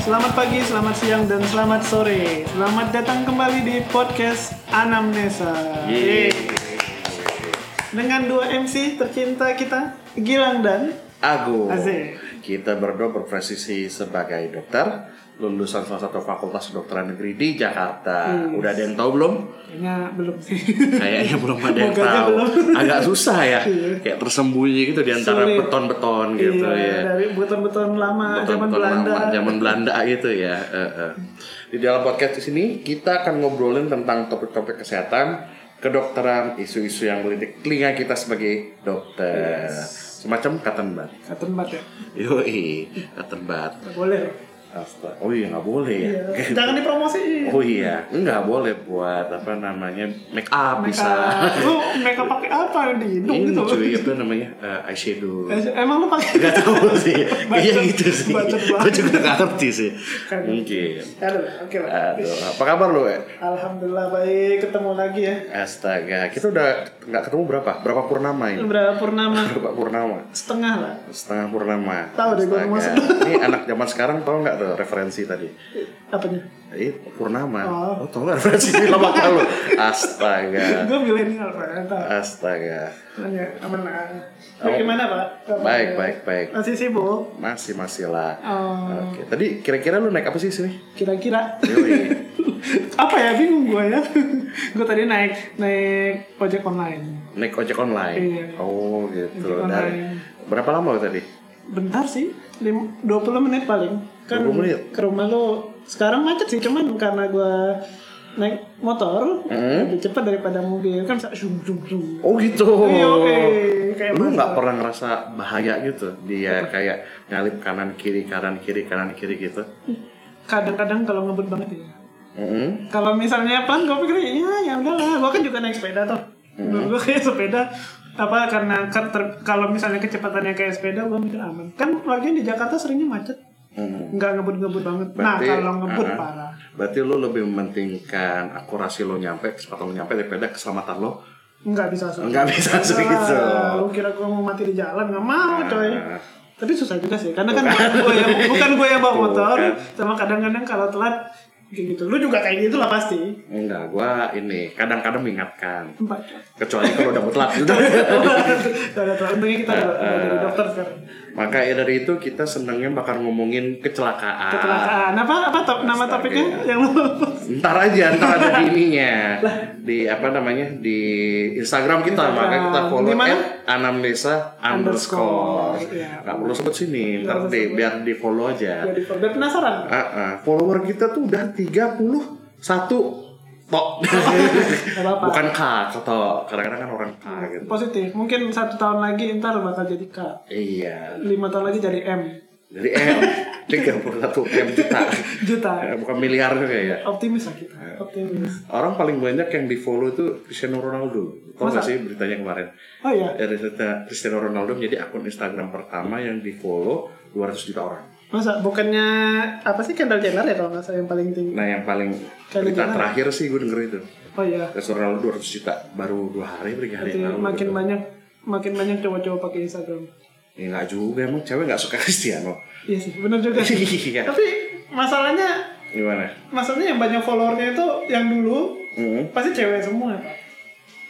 Selamat pagi, selamat siang, dan selamat sore. Selamat datang kembali di podcast Anamnesa. Yeay. Dengan dua MC tercinta kita, Gilang dan Agung. Asik. Kita berdua berprofesi sebagai dokter, lulusan salah satu fakultas kedokteran negeri di Jakarta. Udah ada yang tahu belum? kayaknya belum sih. Kayaknya belum ada yang Semoga aja tahu. belum. Iya. Agak susah ya. Kayak tersembunyi gitu di antara Sulit. beton-beton gitu iya, ya. dari beton-beton lama zaman Beton-beton Belanda. lama, zaman Belanda gitu ya. Eh, eh. Di dalam podcast di sini kita akan ngobrolin tentang topik-topik kesehatan, kedokteran, isu-isu yang melidik telinga kita sebagai dokter. Semacam cotton bud. Katen bat ya? Yoi, cotton bud. Nggak boleh. Astaga. Oh iya nggak boleh ya. Iya. Jangan dipromosiin. Oh iya, nggak boleh buat apa namanya make Mereka, up bisa. lu mereka pakai apa di hidung Ini gitu? cuy apa namanya eh, eyeshadow. Emang lu pakai? Gak tahu sih, kayaknya gitu sih. Bacot banget. Gue juga nggak ngerti sih. Kan. Mungkin. Aduh, oke lah. Aduh, apa kabar lu? eh? Alhamdulillah baik ketemu lagi ya. Astaga, kita udah nggak ketemu berapa? Berapa purnama ini? Berapa purnama? Berapa purnama? Setengah lah. Setengah purnama. Tahu deh gua Astaga. maksud. Ini anak zaman sekarang tau nggak tuh referensi tadi? Apanya? Eh, Purnama. Oh. Oh, tau gak referensi film apa lu? Astaga. Gue milenial pak. Entah. Astaga. Nanya, aman lah. Ya, Gimana pak? Kabarnya? Baik, baik, baik. Masih sibuk? Masih, masih lah. Oh, Oke, tadi kira-kira lu naik apa sih sini? kira-kira Yoi. apa ya bingung gue ya gue tadi naik naik ojek online naik ojek online. Iya. Oh, gitu. Ojek Dari berapa lama lu tadi? bentar sih lim- 20 menit paling kan 20 menit? ke rumah lo sekarang macet sih cuman karena gue naik motor Mm-hmm. lebih cepat daripada mobil kan bisa zoom zoom zoom Oh, gitu. Iya, oke. Kayak Lu masa. nggak pernah ngerasa bahaya gitu? Dia kayak nyalip kanan kiri kanan kiri kanan kiri gitu. kadang-kadang kalau ngebut banget ya Mm-mm. kalau misalnya pelan gue pikir ya ya udahlah gue kan juga naik sepeda tuh gue kayak sepeda apa karena kan ter- kalau misalnya kecepatannya kayak sepeda gue mikir aman kan lagian di Jakarta seringnya macet Mm-mm. nggak ngebut-ngebut banget nah Berarti, kalau ngebut uh-uh. parah Berarti lu lebih mementingkan akurasi lo nyampe, kecepatan lo nyampe daripada keselamatan lo. nggak bisa sih Enggak bisa gitu. segitu. Ah, lu kira gue mau mati di jalan nggak mau coy Ah. tapi susah juga sih karena kan gue yang bukan gue yang bawa Tuh, motor kan. sama kadang-kadang kalau telat kayak gitu lu juga kayak gitu lah pasti Enggak, gua ini kadang-kadang mengingatkan. empat Kecuali kalau udah mutlak gitu. Udah telat. untungnya kita udah udah dari dokter sekarang Maka ya dari itu kita senangnya bakal ngomongin kecelakaan. kecelakaan ah, apa apa top- nama Astaga. topiknya yang lu gitu. Ntar aja, ntar ada di ininya. di apa namanya? Di Instagram Instagram. kita, maka kita follow Di mana? at anamnesa Underscore, underscore. iya. Nggak perlu sebut sini, Nggak ntar perlu di, sebut. Iya. biar di follow aja. jadi korban penasaran Ah, ah. follower kita tuh udah 31 tok. Nggak apa-apa. Bukan K, atau kadang-kadang kan orang K gitu. positif mungkin satu tahun lagi ntar bakal jadi K Iya, eh, lima tahun lagi jadi M dari M 31 M juta. juta Eh, Bukan miliar juga ya. optimis lah kita optimis Orang paling banyak yang di follow itu Cristiano Ronaldo. Tahu nggak Masa? sih beritanya kemarin? oh iya Dari cerita Cristiano Ronaldo menjadi akun Instagram pertama yang di follow 200 juta orang. Masa bukannya apa sih Kendall Jenner ya kalau nggak salah yang paling tinggi? Nah yang paling Kali berita gimana? terakhir sih gue denger itu. Oh iya. Cristiano Ronaldo 200 juta baru dua hari, tiga hari Berarti yang lalu. makin gitu. banyak makin banyak cowok-cowok pakai Instagram. Ya nggak juga emang cewek nggak suka Cristiano. Iya sih, benar juga. sih. Iya. Tapi masalahnya Gimana? masalahnya yang banyak followernya itu yang dulu Mm-mm. pasti cewek semua Pak.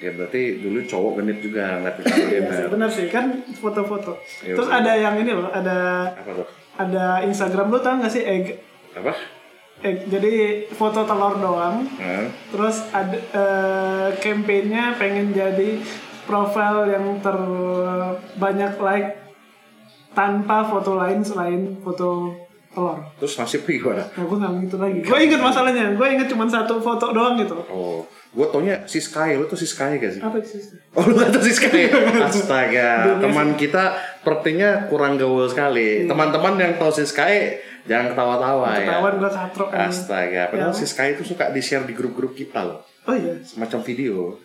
Ya berarti dulu cowok genit juga ngeliat kita Iya sih, benar sih kan foto-foto. Iya, Terus benar. ada yang ini loh, ada Apa tuh? ada Instagram lu tau nggak sih egg Apa? egg jadi foto telur doang Hah? Terus ada eh, campaign-nya pengen jadi profil yang terbanyak like tanpa foto lain selain foto telur. Terus nasib lu gimana? Nah, gue nggak gitu lagi. Gue inget masalahnya. Gue inget cuma satu foto doang gitu. Oh, gue taunya si Sky, lu tuh si Sky gak sih? Apa sih? Oh lu gak tau si Sky? Iya, Astaga, Dunia teman kita sepertinya kurang gaul sekali Teman-teman yang tahu si Sky, Iya. jangan ketawa-tawa ya Ketahuan gue katro. kan. Astaga, padahal si Sky itu suka di-share di grup-grup kita loh Oh iya. Semacam video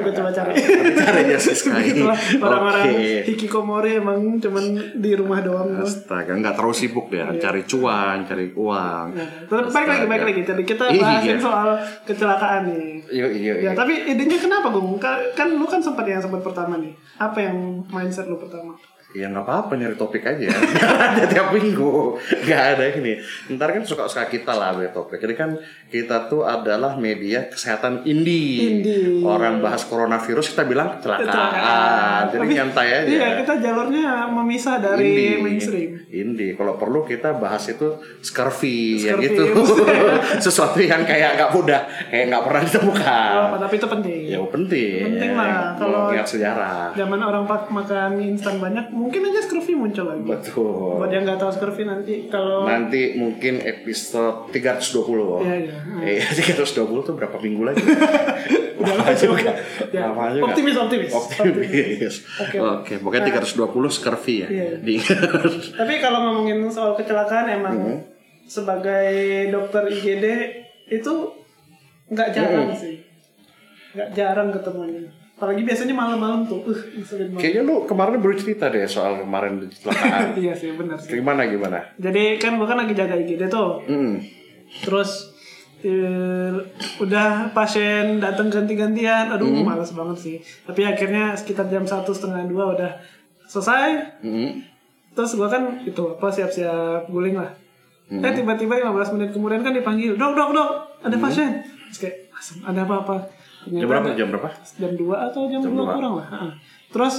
Ntar gue coba cari. Ntar cari aja si Sky Itulah orang-orang Oke. hikikomori emang cuman di rumah doang. Terus Astaga, Iya. nggak terlalu sibuk deh, cari cuan, cari uang. baik lagi, baik lagi. Jadi kita bahasin Iya. soal kecelakaan nih. Iya, iya, iya. Ya, tapi idenya kenapa, Gung? Ka- Kan lu kan sempat yang sempat pertama nih. Apa yang mindset lu pertama? Ya nggak apa-apa nyari topik aja. Nggak ada tiap minggu. Nggak ada ini. Ntar kan suka-suka kita lah nyari topik. Jadi kan kita tuh adalah media kesehatan indie. Indie. Orang bahas coronavirus kita bilang Kecelakaan. kecelakaan. Ah, Jadi Tapi- nyantai aja. Iya, kita jalurnya memisah dari mainstream. Indie. Kalau perlu kita bahas itu scurvy, ya Scurvy, gitu. maksudnya. Sesuatu yang kayak nggak mudah, kayak nggak pernah ditemukan. Nggak apa, tapi itu penting. Ya penting. Penting lah, kalau- Iya. Mengingat sejarah. Zaman orang pak makan mie instan banyak, mungkin aja scurvy muncul lagi. Betul. Buat yang nggak tahu scurvy nanti kalau Nanti mungkin episode 320. Iya, iya. Iya, 320 tuh berapa minggu lagi? Udah Lama lama juga. Ya. Lama juga. Optimis, optimis. Optimis. Oke. Nah. Oke, pokoknya 320 scurvy ya. Iya. Diingat. Tapi kalau ngomongin soal kecelakaan emang sebagai dokter IGD itu nggak jarang sih, nggak jarang ketemunya. Apalagi biasanya malam-malam tuh, uh, ngeselin banget. Kayaknya lu kemarin baru cerita deh soal kemarin kecelakaan. iya sih, benar sih. gimana gimana? Jadi kan gue kan lagi jaga IGD tuh, Mm. terus eh, udah pasien datang ganti-gantian, aduh males banget sih. Tapi akhirnya sekitar jam satu setengah dua udah selesai, Mm. terus gua kan itu apa siap-siap guling lah eh Hmm. tiba-tiba 15 menit kemudian kan dipanggil dok dok dok ada pasien terus kayak langsung ada apa-apa Ternyata Jam berapa? ada- Jam berapa? jam 2 atau jam, Jam 2 dua. kurang lah Ha. terus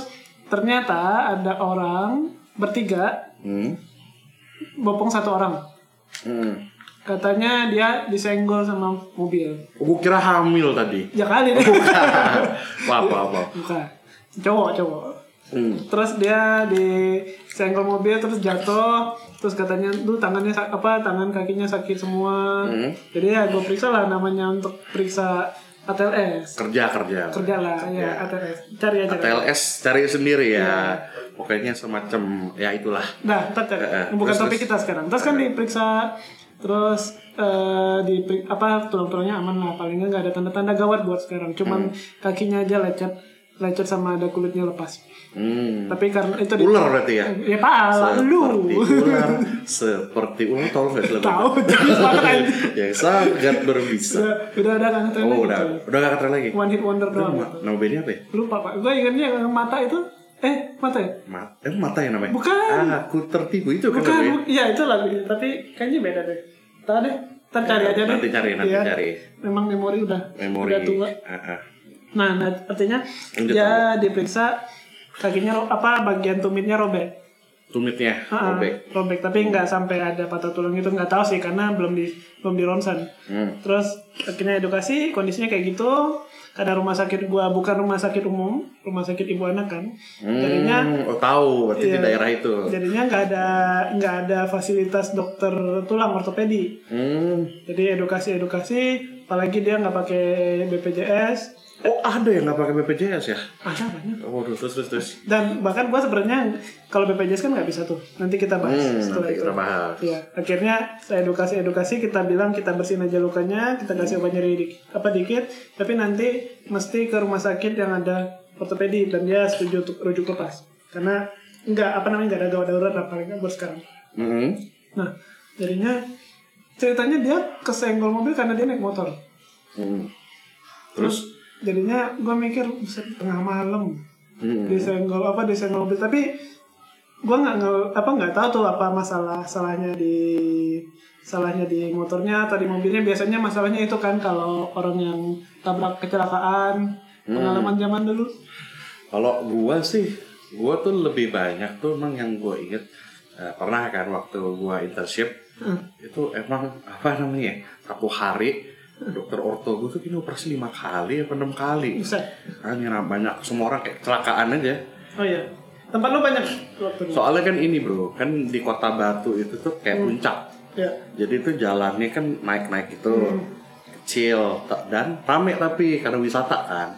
ternyata ada orang bertiga Hmm. bopong satu orang Hmm. katanya dia disenggol sama mobil Gue kira hamil tadi. ya kali deh Oh, Apa apa apa. bukan cowok cowok Hmm. terus dia disenggol mobil terus jatuh terus katanya tuh tangannya sak- apa tangan kakinya sakit semua Hmm. jadi ya gue periksa lah namanya untuk periksa ATLS Kerja kerja. kerja lah Kerja. ya ATLS cari aja TLS cari sendiri Iya. ya. Pokoknya semacam ya itulah. nah ntar cari Eh, eh, bukan terus, topik kita sekarang terus kan diperiksa terus eh, di apa tulang-tulangnya aman lah paling nggak nggak ada tanda-tanda gawat buat sekarang cuman Hmm. kakinya aja lecet lecet sama ada kulitnya lepas Hmm. tapi karena itu di- Ular berarti ya. ya pala lu Seperti ular, seperti ular tolong nggak sih lagu? tahu jadi banget aja Yang sangat berbisa. udah udah ada kan tren Oh udah, udah gak kata lagi. one hit wonder doang gitu. Nama bandnya apa ya? lupa pak gue ingatnya yang mata itu eh mata ya Mata, eh, mata ya namanya? Bukan. Ah, aku tertipu itu kan bukan namanya? bu- iya itu lagunya tapi kayaknya beda deh tahu deh ntar cari aja deh Nanti cari, nanti Iya. cari. memang memori udah Memori. udah tua Ah, ah. nah, nah artinya Lanjut, dia diperiksa kakinya ro- apa bagian tumitnya robek Tumitnya, Ha-ha, robek. robek tapi nggak sampai ada patah tulang itu nggak tahu sih karena belum di belum di ronsen Hmm. Terus akhirnya edukasi kondisinya kayak gitu karena rumah sakit gua bukan rumah sakit umum, rumah sakit ibu anak kan. Jadinya Hmm, oh tahu, berarti di Iya. daerah itu. jadinya nggak ada nggak ada fasilitas dokter tulang ortopedi. Hmm. Jadi edukasi edukasi, apalagi dia nggak pakai BPJS, Oh ada yang nggak pakai BPJS ya? ada banyak. Waduh, terus terus terus. Dan bahkan gua sebenarnya kalau BPJS kan nggak bisa tuh. Nanti kita bahas Hmm, setelah nanti itu. kita bahas. Iya, akhirnya saya edukasi edukasi kita bilang kita bersihin aja lukanya, kita kasih Hmm. obat nyeri dik- apa dikit, tapi nanti mesti ke rumah sakit yang ada ortopedi dan dia setuju untuk rujuk lepas. Karena nggak apa namanya nggak ada gawat darurat apa enggak buat sekarang. Hmm. Nah, jadinya ceritanya dia kesenggol mobil karena dia naik motor. Hmm. Terus? Jadinya gue mikir "Buset, tengah malam Mm-hmm. Hmm. disenggol apa disenggol mobil tapi gue nggak nge- apa nggak tahu tuh apa masalah salahnya di salahnya di motornya atau di mobilnya biasanya masalahnya itu kan kalau orang yang tabrak kecelakaan pengalaman zaman dulu Kalau gua sih, gua tuh lebih banyak tuh emang yang gua inget eh, pernah kan waktu gua internship Hmm. itu emang apa namanya ya, satu hari dokter orto gua tuh kini operasi lima kali apa enam kali bisa kan yang banyak semua orang kayak kecelakaan aja oh iya tempat lu banyak waktu itu soalnya kan ini bro kan di kota Batu itu tuh kayak puncak ya jadi itu jalannya kan naik-naik itu kecil ta- dan rame tapi karena wisata kan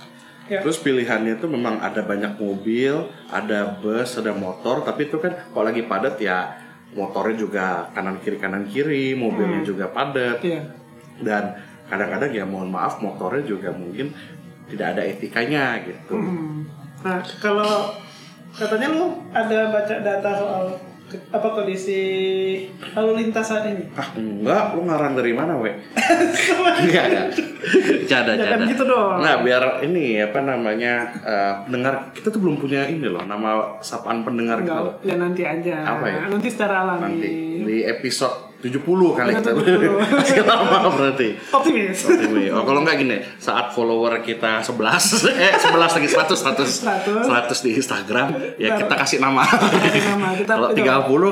Ya. terus pilihannya itu memang ada banyak mobil ada bus ada motor tapi itu kan kalau lagi padat ya motornya juga kanan kiri kanan kiri mobilnya juga padat iya dan kadang-kadang ya mohon maaf motornya juga mungkin tidak ada etikanya gitu Hmm. nah kalau katanya lu ada baca data soal ke- apa kondisi lalu lintas saat ini? Ah enggak, lu ngarang dari mana we? Enggak ada. Canda, Jangan canda. gitu dong. Nah biar ini apa namanya eh, pendengar kita tuh belum punya ini loh nama sapaan pendengar kita loh. Enggak, ya nanti aja. Apa ya? Nanti secara alami. Nanti di episode 70 kali kita 70. masih lama berarti. Optimis. Anyway, Oh, kalau nggak gini, saat follower kita 11, eh 11 lagi 100, 100, 100. 100 di Instagram, ya Ntar. kita kasih nama. nama, kita- Kalau 30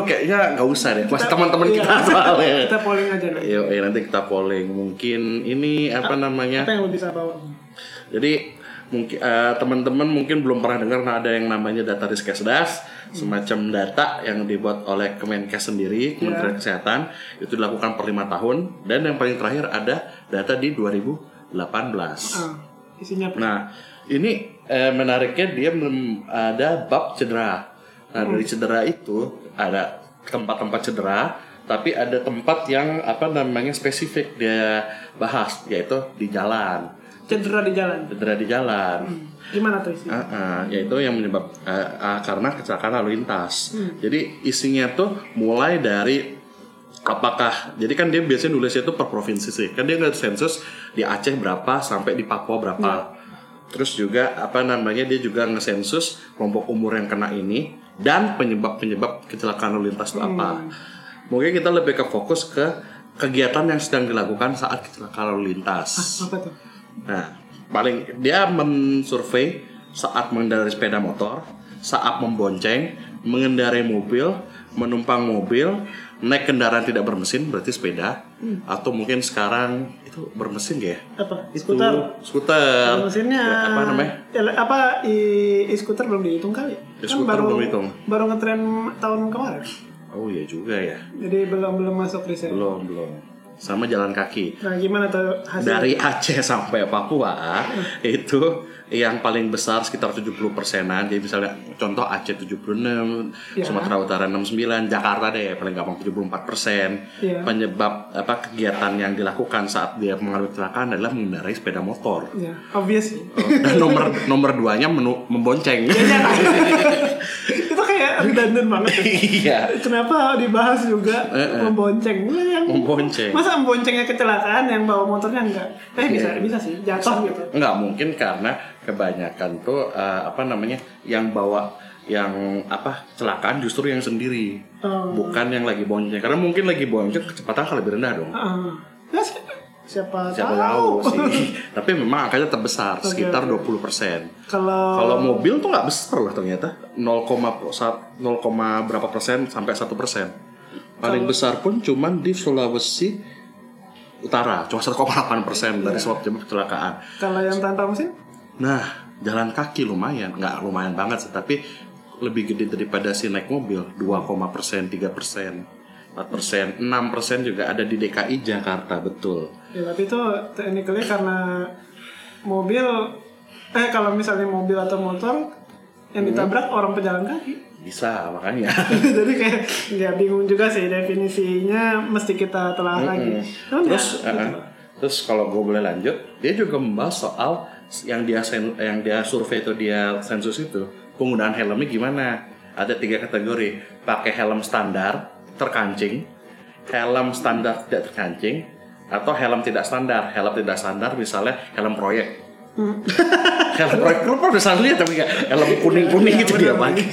kayaknya nggak usah deh, masih teman-teman iya. kita soalnya. Kita polling aja nanti. Yo, eh, nanti kita polling. Mungkin ini apa namanya? Apa yang lu bisa bawa? Jadi mungkin eh, teman-teman mungkin belum pernah dengar nah, ada yang namanya data riskesdas semacam data yang dibuat oleh Kemenkes sendiri Kementerian Kesehatan itu dilakukan per lima tahun dan yang paling terakhir ada data di 2018. Ah, isinya apa? Nah, ini eh, menariknya dia mem- ada bab cedera. Nah, dari cedera itu ada tempat-tempat cedera, tapi ada tempat yang apa namanya spesifik dia bahas yaitu di jalan. Cedera di jalan. Cedera di jalan. Gimana tuh isinya? Ah, ah, yaitu yang menyebab ah, ah, karena kecelakaan lalu lintas. Jadi isinya tuh mulai dari apakah jadi kan dia biasanya nulisnya itu per provinsi sih. Kan dia nggak sensus di Aceh berapa sampai di Papua berapa. Terus juga apa namanya dia juga ngesensus kelompok umur yang kena ini dan penyebab-penyebab kecelakaan lalu lintas itu apa. Mungkin kita lebih ke fokus ke kegiatan yang sedang dilakukan saat kecelakaan lalu lintas. Apa tuh? Nah, paling dia mensurvei saat mengendarai sepeda motor, saat membonceng, mengendarai mobil, menumpang mobil, naik kendaraan tidak bermesin berarti sepeda, atau mungkin sekarang itu bermesin gak ya? Apa? Itu, Skuter. Skuter. Mesinnya Ya, apa namanya? ele- apa i, skuter belum dihitung kali? Kan E-scooter belum dihitung. Baru ngetren tahun kemarin. Oh iya juga ya. Jadi belum belum masuk riset. Belum belum. Sama jalan kaki. Nah, gimana tuh hasil? Dari Aceh sampai Papua Hmm. itu yang paling besar sekitar 70 persenan. Jadi misalnya contoh Aceh 76, Ya. Sumatera Utara 69, Jakarta deh paling gampang 74 persen. Ya. Penyebab apa kegiatan yang dilakukan saat dia mengalami kecelakaan adalah mengendarai sepeda motor. Ya, obvious. Dan nomor nomor duanya menu, membonceng. Iya, kan? Itu kayak redundant banget. Iya. Kenapa dibahas juga Eh, eh. membonceng? Nah, yang- Membonceng. Masa memboncengnya kecelakaan yang bawa motornya enggak? Eh bisa Iya. bisa sih jatuh gitu. Nggak mungkin karena kebanyakan tuh eh, apa namanya yang bawa yang apa celakaan justru yang sendiri Oh. bukan yang lagi bonceng karena mungkin lagi bonceng kecepatan akan lebih rendah dong Heeh. Ya, si- siapa, siapa tahu sih tapi memang angkanya Oh. terbesar Oke, sekitar oke. Oh. 20 persen Kalau kalau mobil tuh nggak besar lah ternyata 0, pro- sa- 0, berapa persen sampai 1 persen Oh. paling besar pun cuman di Sulawesi Utara cuma 1,8 persen dari Iya. sebab penyebab kecelakaan kalau yang tanpa mesin Nah, jalan kaki lumayan, nggak lumayan banget sih, tapi lebih gede daripada si naik mobil, 2, persen, 3 persen, 4 persen, 6 persen juga ada di DKI Jakarta, betul. Ya, tapi itu technically karena mobil eh kalau misalnya mobil atau motor Hmm. yang ditabrak orang pejalan kaki. Bisa, makanya. Jadi kayak ya bingung juga sih definisinya mesti kita telah lagi. Cuman ya, Hmm, terus, eh, eh, terus kalau gue boleh lanjut, dia juga membahas soal yang dia sen- yang dia survei itu dia sensus itu penggunaan helmnya gimana? Ada tiga kategori, pakai helm standar terkancing, helm standar tidak terkancing, atau helm tidak standar. Helm tidak standar misalnya helm proyek. helm proyek lu pernah bisa lihat tapi nggak? helm kuning kuning gitu dia pakai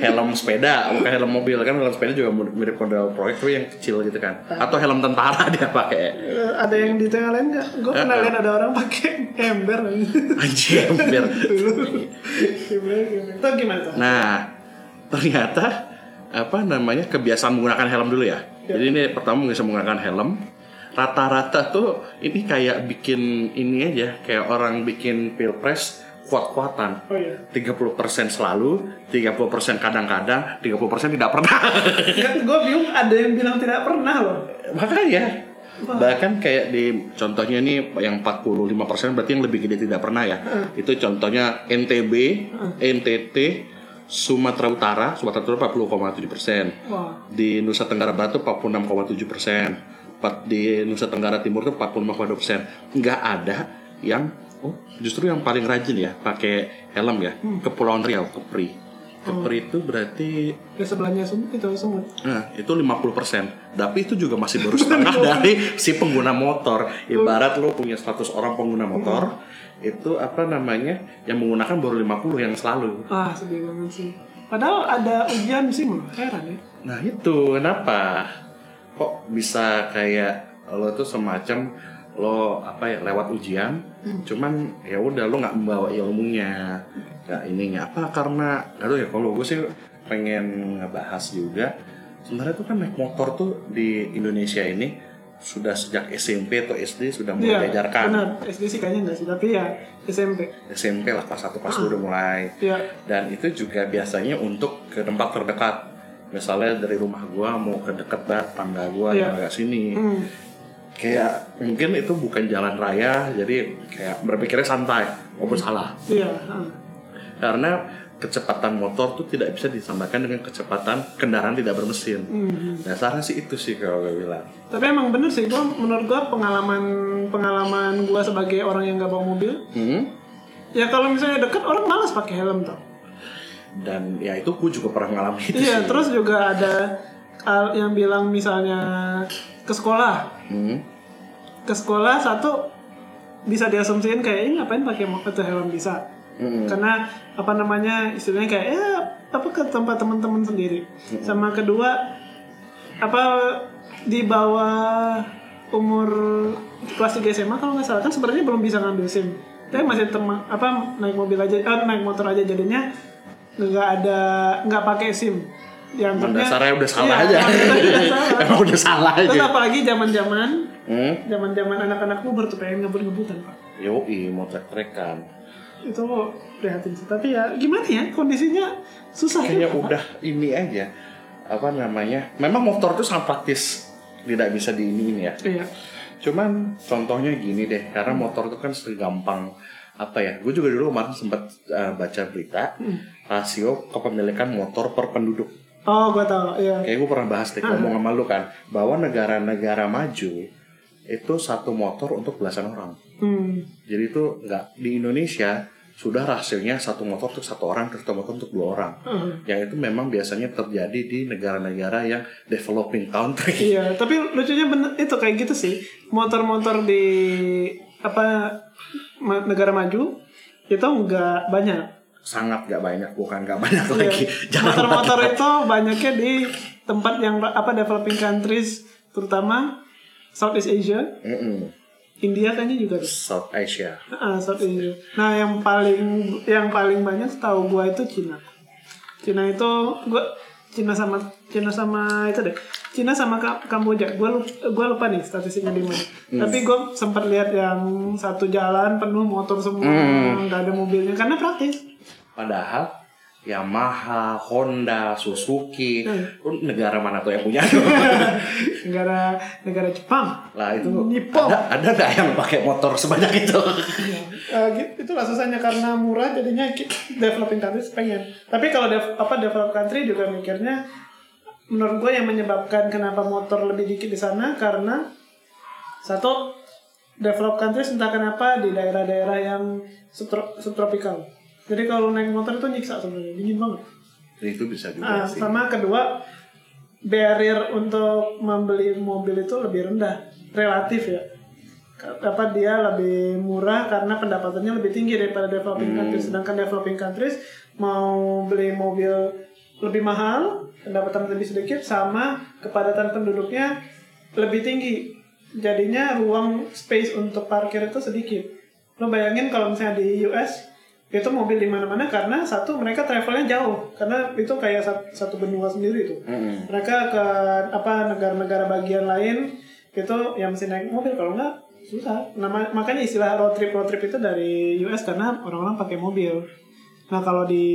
helm sepeda bukan helm mobil kan helm sepeda juga mirip model proyek tapi yang kecil gitu kan atau helm tentara dia pakai eh, ada yang di tengah lain nggak? Gue pernah lihat ada orang pakai ember. Anjir, hampir. Dulu. Gimana, gimana. Tuh gimana tuh? Nah, ternyata apa namanya kebiasaan menggunakan helm dulu ya. Jadi ini pertama bisa menggunakan helm. Rata-rata tuh ini kayak bikin ini aja, kayak orang bikin pilpres kuat-kuatan. Oh iya. 30% selalu, 30% kadang-kadang, 30% tidak pernah. Gue Kan bingung ada yang bilang tidak pernah loh. Makanya bahkan kayak di contohnya nih yang 45% berarti yang lebih gede tidak pernah ya. Itu contohnya NTB, NTT, Sumatera Utara, Sumatera Utara 40,7%. Wah. Di Nusa Tenggara Barat tuh 46,7%. Pat- Di Nusa Tenggara Timur tuh 45,2%. Nggak ada yang oh, justru yang paling rajin ya pakai helm ya. Kepulauan Riau, Kepri. Keper itu berarti Ke sebelahnya semut itu semut. Nah, itu 50%. Tapi itu juga masih baru setengah dari si pengguna motor. Ibarat lo punya 100 orang pengguna motor, itu apa namanya? Yang menggunakan baru 50 yang selalu. Ah sedih banget sih. Padahal ada ujian sih mah heran ya. Nah, itu kenapa? Kok bisa kayak lo tuh semacam lo apa ya lewat ujian Hmm. cuman ya udah lo nggak membawa ilmunya nggak ininya apa karena aduh ya kalau gue sih pengen ngebahas juga sebenarnya tuh kan naik motor tuh di Indonesia ini sudah sejak SMP atau SD sudah Iya, mulai diajarkan Benar. SD sih kayaknya nggak sih, tapi ya SMP. SMP lah kelas 1 kelas Ah. 2 udah mulai Ya. dan itu juga biasanya untuk ke tempat terdekat misalnya dari rumah gua mau ke deket lah tangga gua Iya. yang agak sini Hmm. kayak mungkin itu bukan jalan raya jadi kayak berpikirnya santai walaupun salah Iya. ah. karena kecepatan motor tuh tidak bisa disamakan dengan kecepatan kendaraan tidak bermesin Hmm. dasarnya sih itu sih kalau gue bilang Tapi emang bener sih, gua menurut gua pengalaman pengalaman gua sebagai orang yang nggak bawa mobil, Hmm. ya kalau misalnya deket orang malas pakai helm tau. dan ya itu gue juga pernah ngalamin itu Iya, Gitu sih terus juga ada uh, yang bilang misalnya ke sekolah, Hmm. ke sekolah satu bisa diasumsiin kayak ini ngapain pakai mo- atau helm bisa. Hmm. Karena apa namanya istilahnya kayak ya apa ke tempat teman-teman sendiri. Sama kedua apa di bawah umur kelas 3 SMA kalau nggak salah kan sebenarnya belum bisa ngambil SIM. Tapi masih tema- apa naik mobil aja eh, naik motor aja jadinya nggak ada nggak pakai SIM. Yang Emang tentunya- Kan dasarnya udah salah Iya, aja udah salah. emang udah salah Terus aja apalagi zaman-zaman Hmm. zaman-zaman anak-anak puber tuh pengen ngebut-ngebutan, Pak. Yoi, mau trek-trekan itu prihatin sih tapi ya gimana ya kondisinya susah kayaknya juga, Pak. udah ini aja apa namanya memang motor tuh sangat praktis tidak bisa diiniin ya iya cuman contohnya gini deh karena motor tuh kan segampang apa ya gue juga dulu kemarin sempat eh, baca berita rasio kepemilikan motor per penduduk oh gua tau iya kayak gue pernah bahas deh ngomong sama lu kan bahwa negara-negara maju itu satu motor untuk belasan orang hmm. jadi itu nggak di Indonesia sudah rasionya satu motor untuk satu orang terus satu motor untuk dua orang Uh, yang itu memang biasanya terjadi di negara-negara yang developing country. iya tapi lucunya bener itu kayak gitu sih motor-motor di apa ma- negara maju itu nggak banyak Sangat gak banyak, bukan gak banyak Iya. lagi. Jangan motor-motor itu banyaknya di tempat yang apa developing countries terutama Southeast Asia Mm-mm. India kayaknya juga tuh. South Asia. Ah, South Asia. Nah, yang paling yang paling banyak tahu gua itu Cina. Cina itu gua Cina sama Cina sama itu deh. Cina sama Ka- Kamboja. Gua lupa, gua lupa nih statistiknya di mana. Tapi gua sempat lihat yang satu jalan penuh motor semua, nggak ada mobilnya karena praktis. Padahal Yamaha, Honda, Suzuki, Hmm. lu negara mana tuh yang punya? negara negara Jepang. lah itu Nippon. ada ada nggak yang pakai motor sebanyak itu? Eh, gitu- itulah susahnya karena murah jadinya ki- developing countries pengen tapi kalau dev, apa develop country juga mikirnya menurut gue yang menyebabkan kenapa motor lebih dikit di sana karena satu develop countries entah kenapa di daerah-daerah yang subtro- subtropikal jadi kalau naik motor itu nyiksa sebenarnya dingin banget itu bisa juga Ah, Iya sih. sama kedua barrier untuk membeli mobil itu lebih rendah relatif ya apa dia lebih murah karena pendapatannya lebih tinggi daripada developing countries sedangkan developing countries mau beli mobil lebih mahal pendapatan lebih sedikit sama kepadatan penduduknya lebih tinggi jadinya ruang space untuk parkir itu sedikit lo bayangin kalau misalnya di US itu mobil di mana-mana karena satu mereka travelnya jauh karena itu kayak sat- satu benua sendiri tuh Mm-mm. mereka ke apa negara-negara bagian lain itu yang mesti naik mobil kalau nggak susah nah, ma- makanya istilah road trip road trip itu dari US karena orang-orang pakai mobil nah kalau di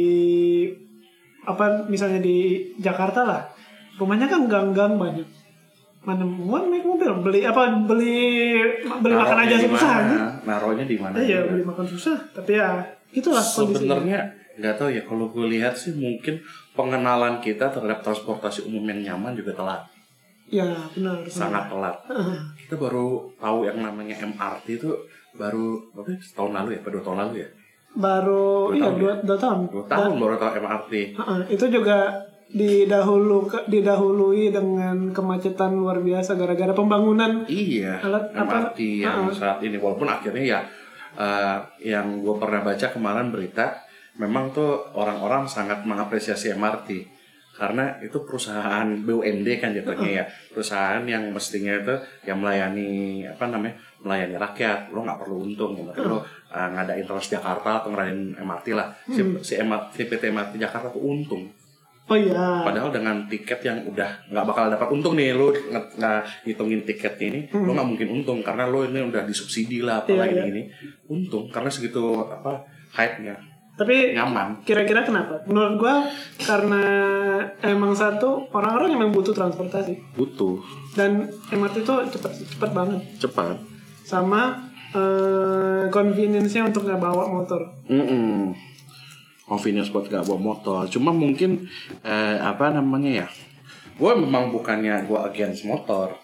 apa misalnya di Jakarta lah rumahnya kan gang-gang banyak mana mau naik mobil beli apa beli beli makan Naruhnya aja di susah mana? kan? Naruhnya di mana? iya juga. beli makan susah tapi ya itulah kondisinya sebenarnya nggak tahu ya kalau gue lihat sih mungkin pengenalan kita terhadap transportasi umum yang nyaman juga telat ya benar sangat telat Heeh. kita baru tahu yang namanya MRT itu baru apa ya, setahun lalu ya pada dua tahun lalu ya baru Dua iya tahun ya? dua, dua tahun. Dua tahun baru tahu MRT. Heeh, itu juga didahulu didahului dengan kemacetan luar biasa gara-gara pembangunan. Iya. Alat apa? MRT Ah. yang saat ini walaupun akhirnya ya eh, yang gue pernah baca kemarin berita memang tuh orang-orang sangat mengapresiasi MRT karena itu perusahaan BUMD kan jatuhnya ya perusahaan yang mestinya itu yang melayani apa namanya melayani rakyat lo nggak perlu untung yang penting lo eh, ngadain Transjakarta atau ngadain MRT lah si, si MRT, si PT MRT Jakarta tuh untung Oh iya. Padahal dengan tiket yang udah nggak bakal dapat untung nih lu nge- nge- ngitungin tiketnya ini, lu nggak mungkin untung karena lu ini udah disubsidi lah apalah Hmm. Iya, ini iya. ini. Untung karena segitu apa hype-nya Tapi nyaman. kira-kira kenapa? Menurut gua karena emang satu orang-orang emang butuh transportasi Butuh dan MRT itu cepet cepet banget cepat. sama eh, convenience-nya untuk nggak bawa motor. Mm-mm. Convenience buat gak bawa motor. Cuma mungkin eh, apa namanya ya? Gue memang bukannya gue against motor.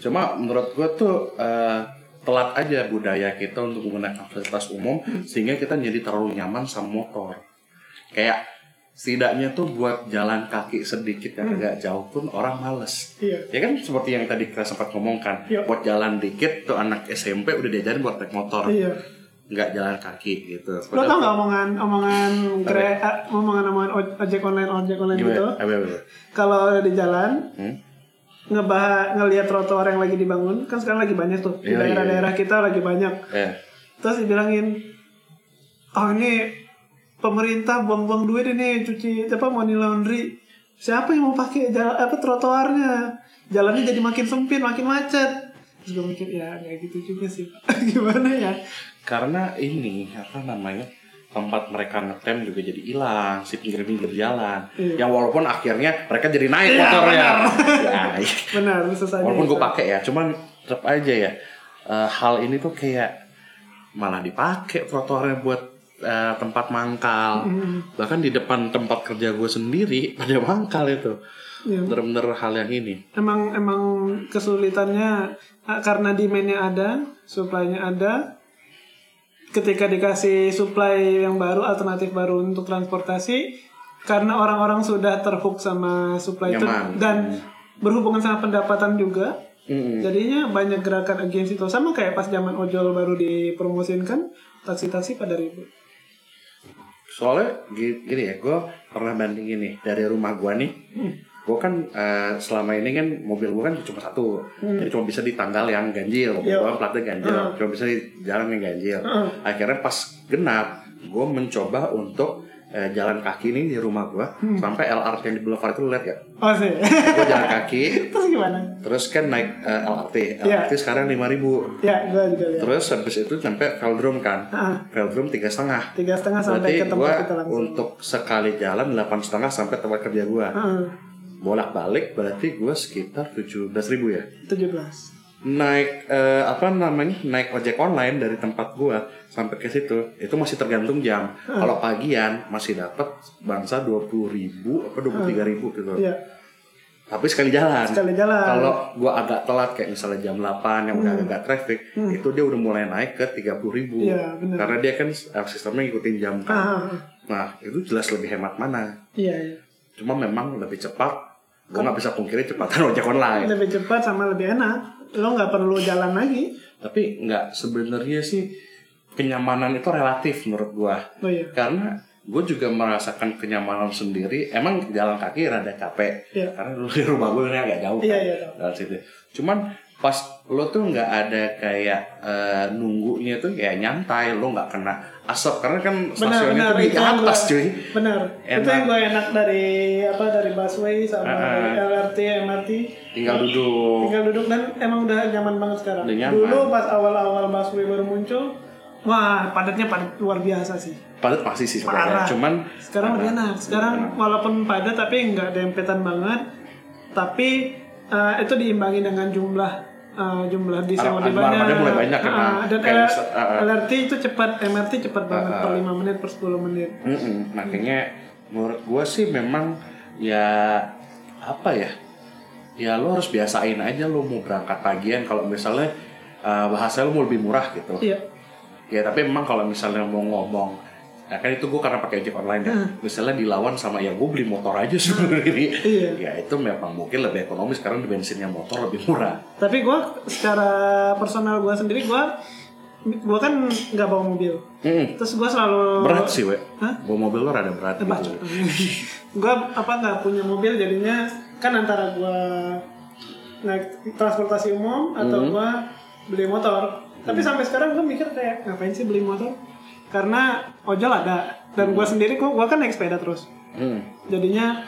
Cuma menurut gue tuh eh, telat aja budaya kita untuk menggunakan fasilitas umum sehingga kita jadi terlalu nyaman sama motor. Kayak setidaknya tuh buat jalan kaki sedikit yang agak jauh pun orang males. Hmm. Iya. Ya kan seperti yang tadi kita sempat ngomongkan, Iya. buat jalan dikit tuh anak SMP udah diajarin buat naik motor Iya. nggak jalan kaki gitu. Lo tau nggak omongan omongan kre, eh, omongan omongan oj- ojek online ojek online Gimana? gitu? Apa, apa, apa? Kalau di jalan iya, Hmm? ngebah ngelihat trotoar yang lagi dibangun kan sekarang lagi banyak tuh di Iya, iya, daerah-daerah kita lagi banyak. Eh, Terus dibilangin, oh ini pemerintah buang-buang duit ini cuci apa money laundry. Siapa yang mau pakai jalan apa trotoarnya? Jalannya jadi makin sempit, makin macet. Terus gue mikir ya kayak gitu juga sih. Pak." Gimana ya? karena ini apa namanya tempat mereka ngetem juga jadi hilang si pinggir-pinggir jalan. Iya. Yang walaupun akhirnya mereka jadi naik motornya. Ya, iya. Benar, susah walaupun gue pakai ya, cuman tetap aja ya eh, hal ini tuh kayak malah dipakai trotoarnya buat eh, tempat mangkal. Mm-hmm. Bahkan di depan tempat kerja gue sendiri ada mangkal itu. Iya. Bener-bener hal yang ini. Emang emang kesulitannya ah, karena demand-nya ada, supply-nya ada. Ketika dikasih supply yang baru, alternatif baru untuk transportasi, karena orang-orang sudah terhook sama supply itu Nyaman. Hmm. dan berhubungan sama pendapatan juga. Mm-mm. Jadinya banyak gerakan against itu sama kayak pas zaman ojol baru dipromosin kan, taksi-taksi pada ribut. soalnya gi- gini ya gue pernah bandingin nih dari rumah gue nih Hmm. gue kan eh, selama ini kan mobil gue kan cuma satu jadi cuma bisa di tanggal yang ganjil mobil Hmm. Iya. Hmm. gue platnya ganjil Heeh. cuma bisa di jalan yang ganjil Heeh. akhirnya pas genap gue mencoba untuk eh, jalan kaki nih di rumah gue Hmm. sampai LRT yang di Boulevard itu lu lihat ya Oh sih. gue jalan kaki Terus gimana? terus kan naik eh, LRT Iya. LRT sekarang 5000 Ya, gue juga lihat. terus habis itu sampai Veldrum kan Ah, Veldrum tiga setengah tiga setengah sampai Berarti ke tempat gua kita langsung. untuk sekali jalan delapan setengah sampai tempat kerja gua Heeh, bolak balik berarti gua sekitar tujuh ribu ya 17. naik eh, apa namanya naik ojek online dari tempat gua sampai ke situ itu masih tergantung jam Hmm. kalau pagian masih dapat bangsa dua puluh ribu apa dua ribu gitu Hmm. Iya, tapi sekali jalan sekali jalan. kalau gua agak telat kayak misalnya jam 8 yang udah Hmm. agak traffic itu dia udah mulai naik ke 30.000 ribu Iya, benar. karena dia kan eh, sistemnya ngikutin jam kan Ah, ah, Nah, itu jelas lebih hemat mana. iya, iya. Cuma memang lebih cepat. Gue nggak bisa pungkiri cepatan ojek online. Lebih cepat sama lebih enak. Lo nggak perlu jalan lagi. Tapi nggak sebenarnya sih kenyamanan itu relatif menurut gua. Oh iya. Karena gue juga merasakan kenyamanan sendiri. Emang jalan kaki rada capek. Iya. Karena dulu di rumah gue ini agak jauh. Iya, kan, iya, dari situ. Cuman pas lo tuh nggak ada kayak eh, nunggunya tuh kayak nyantai. Lo nggak kena asap karena kan Benar, benar. stasiunnya tuh di Itu yang atas gua- cuy. Benar. Enak. Itu yang gue enak dari apa dari busway sama Ah, ah. LRT, MRT. Tinggal duduk. Tinggal duduk dan emang udah nyaman banget sekarang. Udah nyaman. Dulu pas awal-awal busway baru muncul, wah padatnya padat luar biasa sih. padat pasti sih sebenarnya Parah. cuman Sekarang lebih enak. Sekarang walaupun padat tapi nggak dempetan banget. Tapi eh, itu diimbangi dengan jumlah eh, jumlah dis yang Arah- lebih arah- banyak. arahnya mulai banyak, Ah, emang. dan Kayak L- bisa- ah, ah. LRT itu cepat, MRT cepat banget per 5 menit per 10 menit. mm-mm, makanya menurut gua sih memang ya apa ya ya lo harus biasain aja lo mau berangkat pagian kalau misalnya uh, bahasa lo mau lebih murah gitu Iya. ya tapi memang kalau misalnya mau ngomong Nah, kan itu gue karena pakai ojek online ya. Misalnya dilawan sama ya gue beli motor aja sebenarnya. Iya. Ya itu memang mungkin lebih ekonomis karena bensinnya motor lebih murah. Tapi gue secara personal gue sendiri gue gue kan nggak bawa mobil. Hmm. Terus gue selalu Berat sih, we. Hah? Bawa mobil lo rada berat gitu. gue apa nggak punya mobil jadinya kan antara gue naik transportasi umum atau Hmm. gue beli motor. Tapi sampai sekarang gue mikir kayak ngapain sih beli motor? Karena ojol ada dan gue sendiri gue gua kan naik sepeda terus. Hmm. Jadinya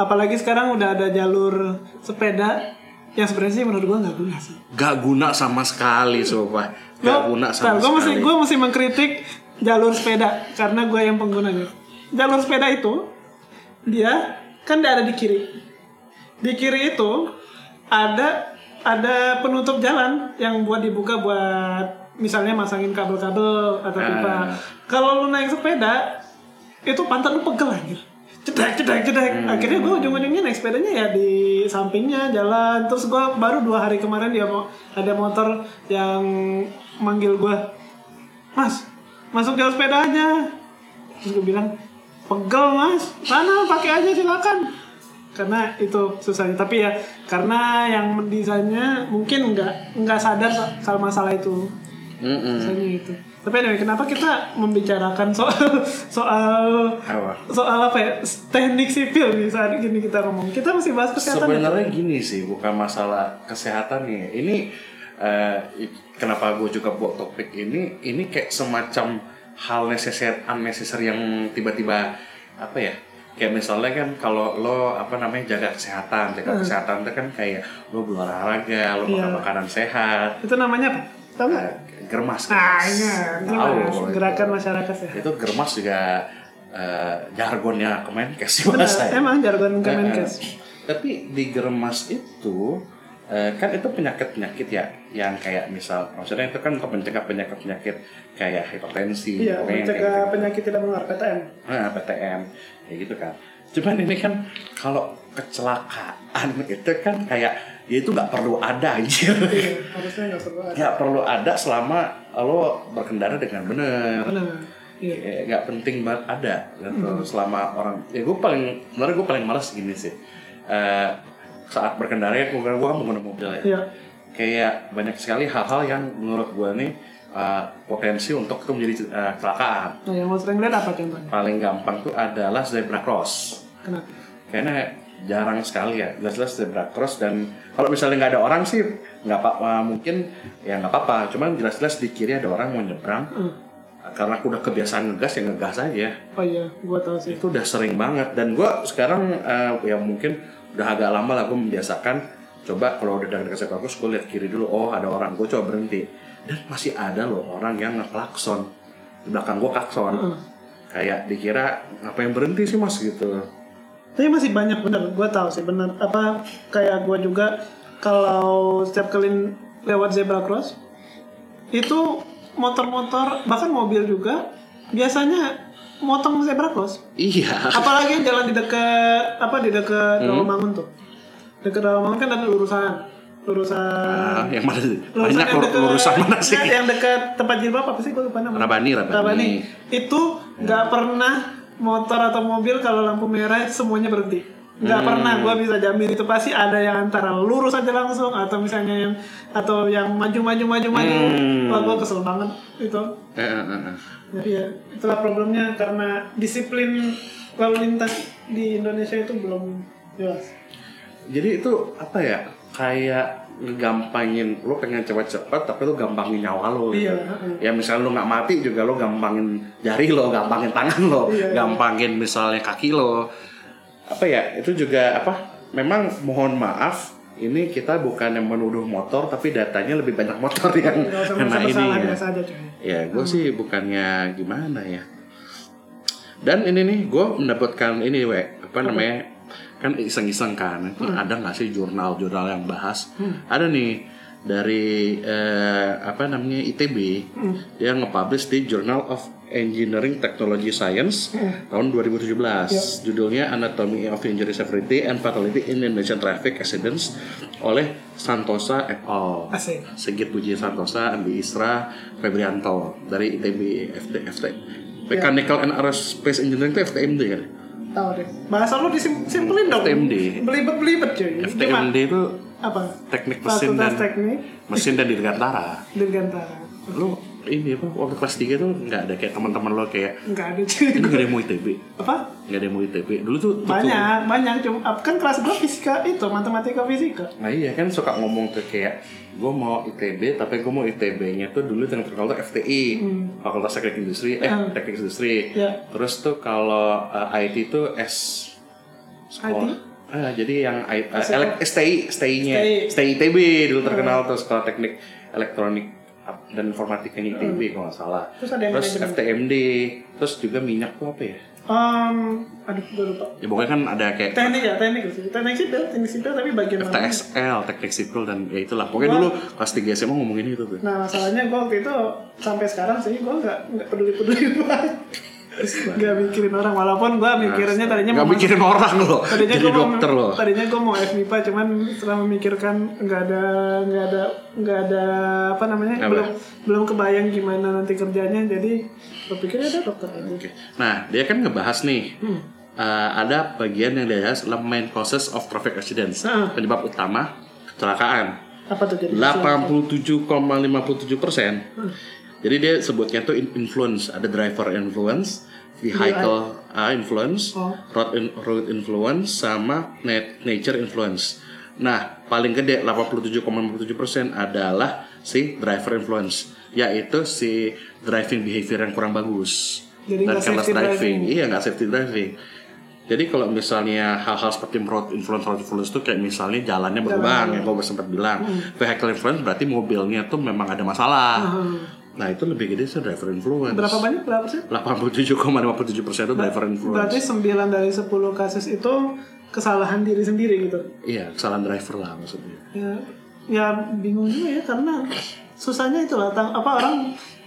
apalagi sekarang udah ada jalur sepeda yang sebenarnya sih menurut gue nggak guna sih. Gak guna sama sekali, sumpah. Gak guna sama gue Nah, mesti sekali. gue mesti mengkritik jalur sepeda karena gue yang penggunanya jalur sepeda itu dia kan dia ada di kiri di kiri itu ada ada penutup jalan yang buat dibuka buat misalnya masangin kabel-kabel atau pipa Ah. kalau lu naik sepeda itu pantat lu pegel anjir cedek cedek cedek akhirnya gue ujung-ujungnya naik sepedanya ya di sampingnya jalan terus gue baru dua hari kemarin dia mau ada motor yang manggil gue mas masuk jalur sepeda aja terus gue bilang pegel mas mana pakai aja silakan karena itu susahnya tapi ya karena yang mendesainnya mungkin nggak nggak sadar soal masalah itu Mm-mm. Misalnya itu. Tapi anyway, kenapa kita membicarakan soal soal Apa? soal apa ya s- teknik sipil nih saat ini kita ngomong. Kita masih bahas kesehatan. ya? Sebenarnya gini sih, bukan masalah kesehatan nih. Ini eh, i- kenapa gue juga buat topik ini? Ini kayak semacam hal necessary, unnecessary yang tiba-tiba apa ya? Kayak misalnya kan kalau lo apa namanya jaga kesehatan, jaga kesehatan itu kan kayak lo berolahraga, lo makan Iya. makanan sehat, Itu namanya apa? Tahu nggak? eh, germas. Nah, germas. iya. Gimana? Tahu kalau itu. Gerakan masyarakat ya. Itu germas juga eh, jargonnya Kemenkes sih Benar, bahasa. ya. emang jargon Kemenkes. Eh, tapi di germas itu eh, kan itu penyakit-penyakit ya yang kayak misal maksudnya itu kan untuk mencegah penyakit-penyakit kayak hipertensi, Iya, pokoknya yang kayak gitu. mencegah penyakit tidak menular PTM. Nah, PTM kayak gitu kan. Cuman ini kan kalau kecelakaan itu kan kayak ya itu nggak perlu ada anjir. Iya, harusnya nggak perlu ada. Nggak perlu ada selama lo berkendara dengan benar Benar. Iya. kayak nggak penting banget ada gitu. selama orang ya gue paling sebenarnya gue paling males gini sih Eh, saat berkendara ya gue gue kan pengguna mobil ya Iya. kayak banyak sekali hal-hal yang menurut gue nih eh, potensi untuk itu menjadi eh, kecelakaan Nah, yang lo sering lihat apa contohnya? paling gampang tuh adalah zebra cross Kenapa? kayaknya jarang sekali ya jelas-jelas zebra cross dan kalau misalnya nggak ada orang sih nggak apa mungkin ya nggak apa-apa cuman jelas-jelas di kiri ada orang mau nyebrang Hmm. karena aku udah kebiasaan ngegas ya ngegas aja Oh iya, gua tahu sih. itu udah sering banget dan gue sekarang eh, ya mungkin udah agak lama lah gue membiasakan coba kalau udah dekat dekat bagus gue lihat kiri dulu oh ada orang gue coba berhenti dan masih ada loh orang yang ngeklakson di belakang gue klakson Heeh. kayak dikira ngapain berhenti sih mas gitu Tapi masih banyak bener, gue tahu sih bener. Apa kayak gue juga kalau setiap kali lewat zebra cross itu motor-motor bahkan mobil juga biasanya motong zebra cross. iya Apalagi yang jalan di dekat apa di Hmm. dekat Rawamangun tuh. Dekat Rawamangun kan ada lurusan, Ah, lurusan. yang mana sih? lurusan banyak yang ur- dekat- urusan mana sih Yang, yang dekat tempat jilbab apa sih gue lupa namanya. Rabani, Rabani. Iya. Rabani. Itu Ya. nggak pernah motor atau mobil kalau lampu merah semuanya berhenti. Nggak Hmm. pernah, gue bisa jamin itu pasti ada yang antara lurus aja langsung atau misalnya yang atau yang maju maju maju maju. Hmm. Wah gue kesel banget itu. Eh, eh, eh, eh. Ya, iya, itulah problemnya karena disiplin lalu lintas di Indonesia itu belum jelas. jadi itu apa ya kayak gampangin lo pengen cepat-cepat tapi lo gampangin nyawa lo gitu. Iya, heeh. ya misalnya lo nggak mati juga lo gampangin jari lo gampangin tangan lo Iya, iya. gampangin misalnya kaki lo apa ya itu juga apa memang mohon maaf ini kita bukan yang menuduh motor tapi datanya lebih banyak motor yang Gak usah kena merasa ini bersalah ya. biasa aja cuy. Ya, gue sih bukannya gimana ya. Dan ini nih, gue mendapatkan ini, we apa namanya? Kan iseng-iseng kan, nanti ada nggak sih jurnal-jurnal yang bahas? Ada nih dari eh, apa namanya ITB dia nge-publish di Journal of Engineering Technology Science tahun 2017 judulnya Anatomy of Injury Severity and Fatality in Indonesian Traffic Accidents oleh Santosa et al. Asik. Sigit Puji Santosa, Andi Isra, Febrianto dari ITB FT, FT, Mechanical and Aerospace Engineering itu FTMD kan? Tahu deh. Bahasa lu disimpelin dong. FTMD. Belibet-belibet cuy. Gimana? FTMD itu Apa? teknik mesin Fakultas dan teknik mesin dan dirgantara. dirgantara. Lu ini apa waktu kelas 3 tuh nggak ada kayak teman-teman lo kayak Enggak ada cuy. ini nggak ada yang mau ITB, Apa? nggak ada yang mau ITB. Dulu tuh tuh- banyak banyak cuma kan kelas gue fisika itu matematika fisika Nah iya kan suka ngomong tuh kayak gue mau ITB tapi gue mau ITB-nya tuh dulu yang terkenal tuh FTI Fakultas Teknik Industri eh Hmm. Teknik Industri Ya. terus tuh kalau eh, IT tuh S sekolah Ah, jadi yang I- eh, STI? elek- STI STI-nya STI ITB dulu Ah. terkenal tuh sekolah teknik elektronik dan informatikanya ITB kalau nggak salah Hmm. Terus ada yang terus manajemen. FTMD terus juga minyak tuh apa ya Em, aduh gue lupa ya pokoknya kan ada kayak teknik ya teknik sih teknik sipil teknik sipil tapi bagian mana FTSL, teknik sipil dan ya itulah. Pokoknya dulu kelas 3 SMA ngomongin itu tuh. nah masalahnya gue waktu itu sampai sekarang sih gue nggak nggak peduli peduli banget nggak mikirin orang walaupun gue mikirnya tadinya Gak mau mikirin orang loh, tadinya jadi gue mau dokter loh. tadinya gue mau FMIPA cuman setelah memikirkan nggak ada nggak ada nggak ada apa namanya Apa? belum belum kebayang gimana nanti kerjanya jadi berpikirnya ada dokter aja Oke. Nah, dia kan ngebahas nih. Hmm. eh, ada bagian yang dibahas adalah main causes of traffic accidents. Ah. Penyebab utama kecelakaan. apa tuh jadi 87,57 persen. Jadi dia sebutnya tuh in- influence, ada driver influence, vehicle uh, influence, Oh. road in- road influence, sama nat- nature influence. Nah, paling gede 87,57 persen adalah si driver influence, yaitu si driving behavior yang kurang bagus Jadi dan nggak careless safety driving. driving. Iya, nggak safety driving. Jadi kalau misalnya hal-hal seperti road influence, road influence itu kayak misalnya jalannya berlubang yang gue sempat bilang. Hmm. Vehicle influence berarti mobilnya tuh memang ada masalah. Nah itu lebih gede sih driver influence. berapa banyak berapa persen 87,57 persen itu driver influence. Berarti 9 dari 10 kasus itu kesalahan diri sendiri gitu. Iya, kesalahan driver lah maksudnya. Ya, ya bingung juga ya karena susahnya itulah tang apa orang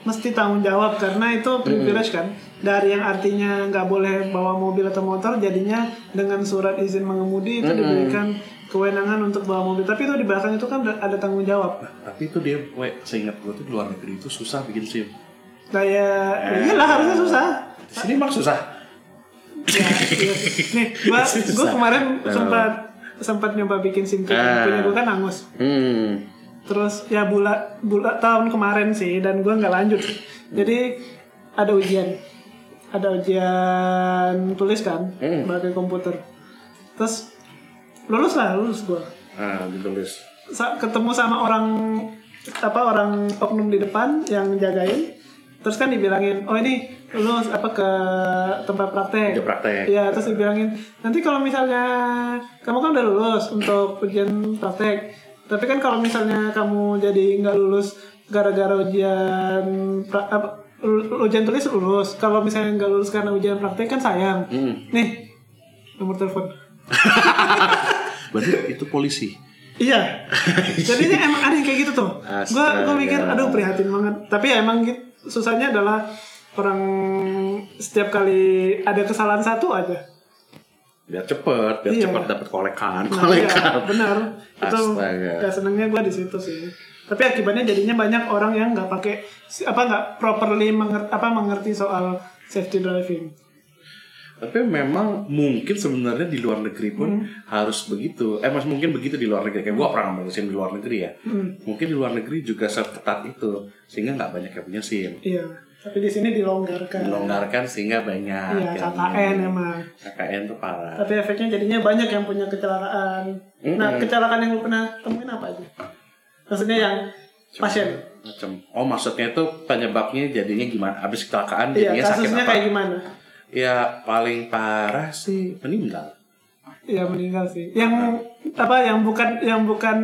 mesti tanggung jawab karena itu privilege kan. Dari yang artinya nggak boleh bawa mobil atau motor jadinya dengan surat izin mengemudi itu diberikan kewenangan untuk bawa mobil. Tapi itu di belakang itu kan ada tanggung jawab. Nah, Tapi itu dia, we, seingat gue tuh di luar negeri itu susah bikin SIM. Kayak ya iyalah harusnya susah. Di sini emang susah. ya, iya. Nih, gua, gua kemarin sempat sempat nyoba bikin SIM card. Ah. Punya gua kan angus. Hmm. Terus ya bulan bulan tahun kemarin sih dan gua nggak lanjut. Jadi ada ujian. Ada ujian tulis kan pakai komputer. Terus lulus lah, lulus gua. Ah, ditulis. Sa- ketemu sama orang apa orang oknum di depan yang jagain. Terus kan dibilangin, "Oh ini lu apa ke tempat praktek?" Dia praktek. Iya, terus dibilangin, nanti kalau misalnya kamu kan udah lulus untuk ujian praktek, tapi kan kalau misalnya kamu jadi nggak lulus gara-gara ujian pra- apa, lu- ujian tulis lulus, kalau misalnya nggak lulus karena ujian praktek kan sayang. Hmm. Nih nomor telepon. Berarti itu polisi. Iya. Jadinya emang ada yang kayak gitu tuh. Gua gua mikir aduh prihatin banget. Tapi ya emang gitu, susahnya adalah orang setiap kali ada kesalahan satu aja. Biar cepet, biar Iya. cepet dapat kolekan. Nah, Kolekan. iya, benar. Itu Astaga. gak senengnya gue di situ sih. Tapi akibatnya jadinya banyak orang yang nggak pakai si- apa nggak properly mengerti, apa mengerti soal safety driving. Tapi memang mungkin sebenarnya di luar negeri pun Hmm. harus begitu. Eh, mas mungkin begitu di luar negeri. Kayak gua pernah ngomong SIM di luar negeri ya. Hmm. Mungkin di luar negeri juga seketat itu sehingga nggak banyak yang punya SIM. Iya. Tapi di sini dilonggarkan. Dilonggarkan sehingga banyak. Iya, yang- KKN emang. KKN tuh parah. Tapi efeknya jadinya banyak yang punya kecelakaan. Nah, kecelakaan yang lu pernah temuin apa aja? Maksudnya yang pasien. Macam. Oh, maksudnya itu penyebabnya jadinya gimana? Habis kecelakaan Iya, jadinya sakit kasusnya apa? kayak gimana? Ya paling parah sih meninggal. Iya meninggal sih. Yang apa? Yang bukan yang bukan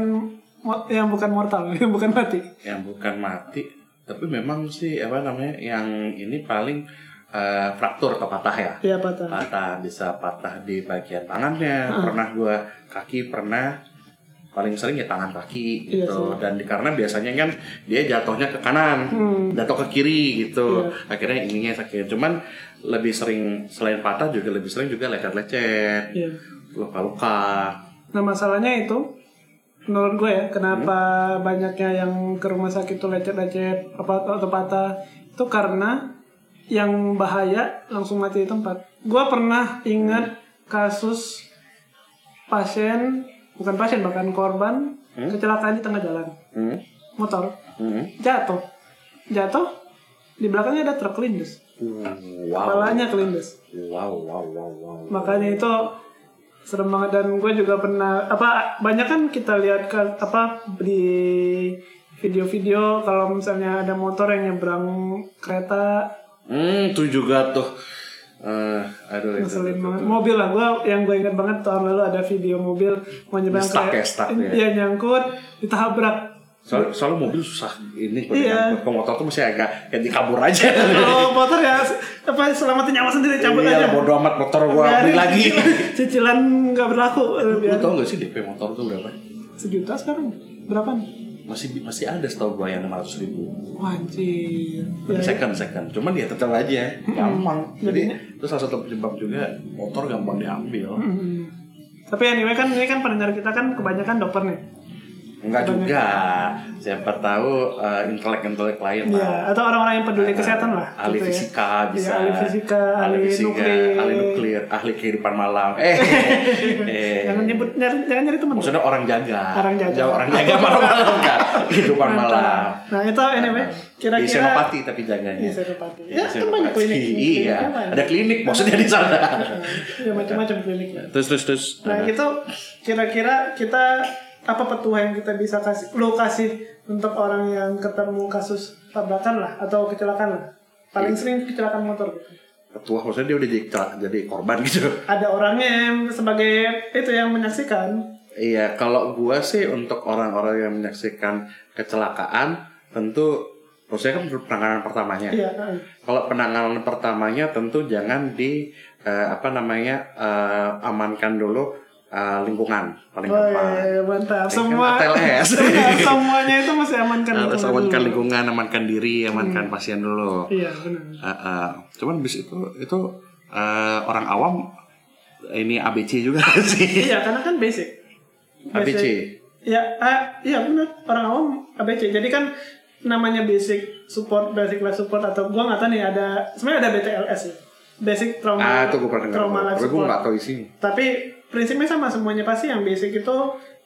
yang bukan mortal, yang bukan mati. yang bukan mati tapi memang sih apa namanya yang ini paling eh, fraktur atau patah ya Iya patah. patah bisa patah di bagian tangannya Ah. pernah gua kaki pernah paling sering ya tangan kaki Iya gitu dan di- karena biasanya kan dia jatuhnya ke kanan Hmm. jatuh ke kiri gitu Iya. akhirnya ininya sakit cuman lebih sering selain patah juga lebih sering juga lecet-lecet Iya. luka-luka Nah masalahnya itu menurut gue ya kenapa banyaknya yang ke rumah sakit tuh lecet-lecet apa atau patah itu karena yang bahaya langsung mati di tempat. Gua pernah ingat kasus pasien bukan pasien bahkan korban kecelakaan di tengah jalan Hmm? motor Hmm? jatuh jatuh di belakangnya ada truk kelindes Wow. kepalanya kelindes Wow, wow, wow, wow. makanya itu serem banget dan gue juga pernah apa banyak kan kita lihat kan apa di video-video kalau misalnya ada motor yang nyebrang kereta Hmm, itu juga tuh. Eh, aduh itu. ngeselin itu, banget itu. mobil lah gue yang gue ingat banget tahun lalu ada video mobil mau nyebrang Stuck kereta ya, stuck ya. iya nyangkut ditabrak Soal, soalnya mobil susah ini kalau Iya. diangkut. Kalau motor tuh masih agak kayak dikabur aja. kalau motor ya apa selamatin nyawa sendiri cabut aja Iya, bodo amat motor gua Biarin, beli Iya. lagi. cicilan- cicilan nggak berlaku eh, Lu biar tau gak sih DP motor tuh berapa? sejuta sekarang berapa Masih masih ada setahu gua yang 500 ribu. Wah, anjir. Ya, Second second. Cuman ya tetap aja Hmm. gampang. Jadi itu salah satu penyebab juga motor gampang diambil. Mm. Tapi anyway kan ini kan pendengar kita kan kebanyakan dokter nih. Enggak juga. Siapa tahu eh, intelek-intelek lain lah. Iya, atau orang-orang yang peduli kesehatan lah. gitu ahli ya. fisika bisa Iya, ahli fisika, ahli fisika, nuklir. ahli nuklir ahli kehidupan malam eh, eh. Jangan nyebut nyari, jangan nyari teman. maksudnya orang jaga Orang jaga. Jauh orang jaga malam-malam kan kehidupan malam Nah, itu anyway di kira-kira senopati tapi jaganya Di senopati. Iya, Ya, kan banyak Senopati. klinik. Kan iya ada klinik maksudnya di sana Ya, macam-macam kliniknya. terus terus terus Nah, itu kira-kira kita apa petua yang kita bisa kasih lo kasih untuk orang yang ketemu kasus tabrakan lah atau kecelakaan lah. Paling Iya. sering kecelakaan motor gitu. ketua maksudnya dia udah jadi, jadi korban gitu ada orangnya yang sebagai itu yang menyaksikan Iya, kalau gua sih untuk orang-orang yang menyaksikan kecelakaan tentu maksudnya kan penanganan pertamanya. iya heeh. Kalau penanganan pertamanya tentu jangan di eh, apa namanya eh, amankan dulu eh, lingkungan paling Oh, iya, gampang. Woi, mantap Ini kan semua ATLS. Iya, semuanya itu masih amankan Harus lingkungan amankan dulu. lingkungan, amankan diri, amankan pasien dulu. iya benar Eh, eh, cuman bis itu itu eh, orang awam ini ABC juga sih. iya karena kan basic ABC. ya ah, iya benar orang awam ABC jadi kan namanya basic support basic life support atau gua nggak tahu nih ada sebenarnya ada BTLS ya basic trauma Ah, itu gue pernah dengar. trauma life Tapi gue support nggak tahu isinya. Tapi prinsipnya sama semuanya pasti yang basic itu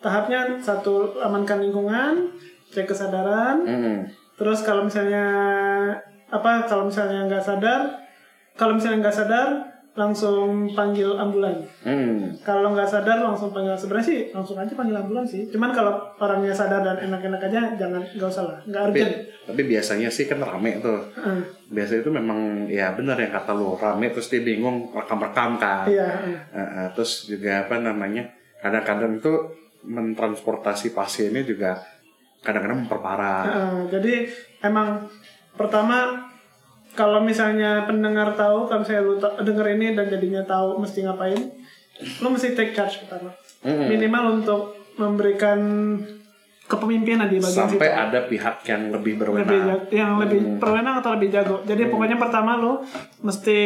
tahapnya satu amankan lingkungan, cek kesadaran. Mm. Terus kalau misalnya apa kalau misalnya nggak sadar, kalau misalnya nggak sadar langsung panggil ambulan. Mm. Kalau nggak sadar langsung panggil sebenarnya sih langsung aja panggil ambulan sih. Cuman kalau orangnya sadar dan enak-enak aja jangan nggak usah lah, nggak tapi, urgent. tapi biasanya sih kan rame tuh Heeh. biasanya itu memang ya benar yang kata lu rame terus dia bingung rekam-rekam kan Iya. heeh. Eh, eh, terus juga apa namanya kadang-kadang itu mentransportasi pasiennya juga kadang-kadang memperparah Heeh, jadi emang pertama kalau misalnya pendengar tahu kalau misalnya lu ta- denger ini dan jadinya tahu mesti ngapain lu mesti take charge pertama Mm-mm. minimal untuk memberikan kepemimpinan di bagian sampai situ. ada pihak yang lebih lebih berwenang ja- yang lebih perwenang atau lebih jago jadi pokoknya pertama lu mesti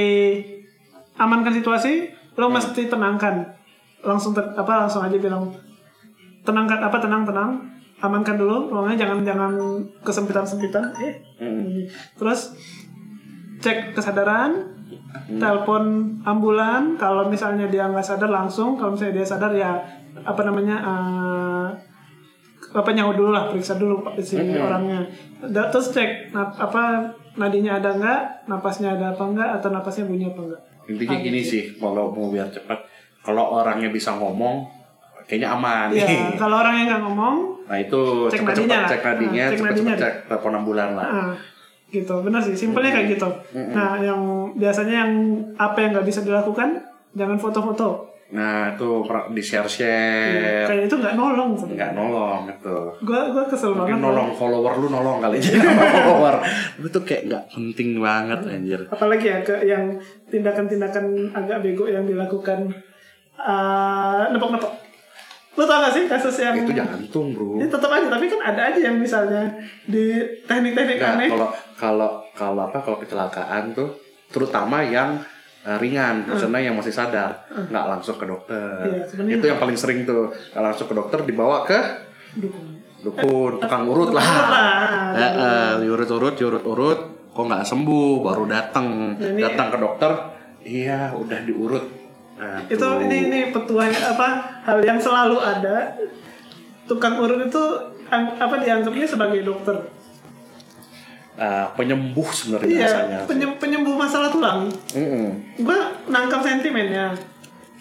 amankan situasi lu mesti tenangkan langsung ter- apa langsung aja bilang tenangkan apa tenang tenang amankan dulu ruangnya jangan jangan kesempitan sempitan eh Mm. Terus cek kesadaran, telepon ambulan. Kalau misalnya dia nggak sadar langsung, kalau misalnya dia sadar ya apa namanya eh, apa nyawa dulu lah, periksa dulu si orangnya. Da- Terus cek nap- apa nadinya ada nggak, napasnya ada apa nggak, atau napasnya bunyi apa nggak. intinya gini gitu. sih kalau mau biar cepat kalau orangnya bisa ngomong kayaknya aman Ya, kalau orangnya nggak ngomong, nah itu Cek cepet-cepet nadinya lah. cek nadinya Nah, cek cepet-cepet nadinya. cek telepon ambulan lah ah, gitu. Benar sih, simpelnya kayak gitu. Nah, yang biasanya yang apa yang nggak bisa dilakukan, jangan foto-foto. nah itu per- di share-share Iya, kayak itu nggak nolong sebenarnya nggak nolong gitu gue gue kesel Iya. mungkin banget nolong follower lu nolong kali aja sama follower lu tuh kayak nggak penting banget anjir apalagi ya ke yang tindakan-tindakan agak bego yang dilakukan eh nepok-nepok lo tau gak sih kasus yang itu jantung bro ini tetap aja tapi kan ada aja yang misalnya di teknik-teknik nggak aneh kalau kalau kalau apa kalau kecelakaan tuh terutama yang eh, ringan maksudnya yang masih sadar nggak langsung ke Iya, dokter sebenarnya- itu yang paling sering tuh nggak langsung ke dokter dibawa ke Dukung. dukun tukang urut lah Eh, Lah, Eh, eh, diurut-urut diurut-urut kok nggak sembuh baru datang Ini- datang ke dokter iya udah diurut Nah, itu tuh. ini ini petualang apa hal yang selalu ada tukang urut itu ang- apa dianggapnya sebagai dokter Ah, penyembuh sebenarnya rasanya iya penyem- penyembuh masalah tulang Mm-mm. gua nangkap sentimennya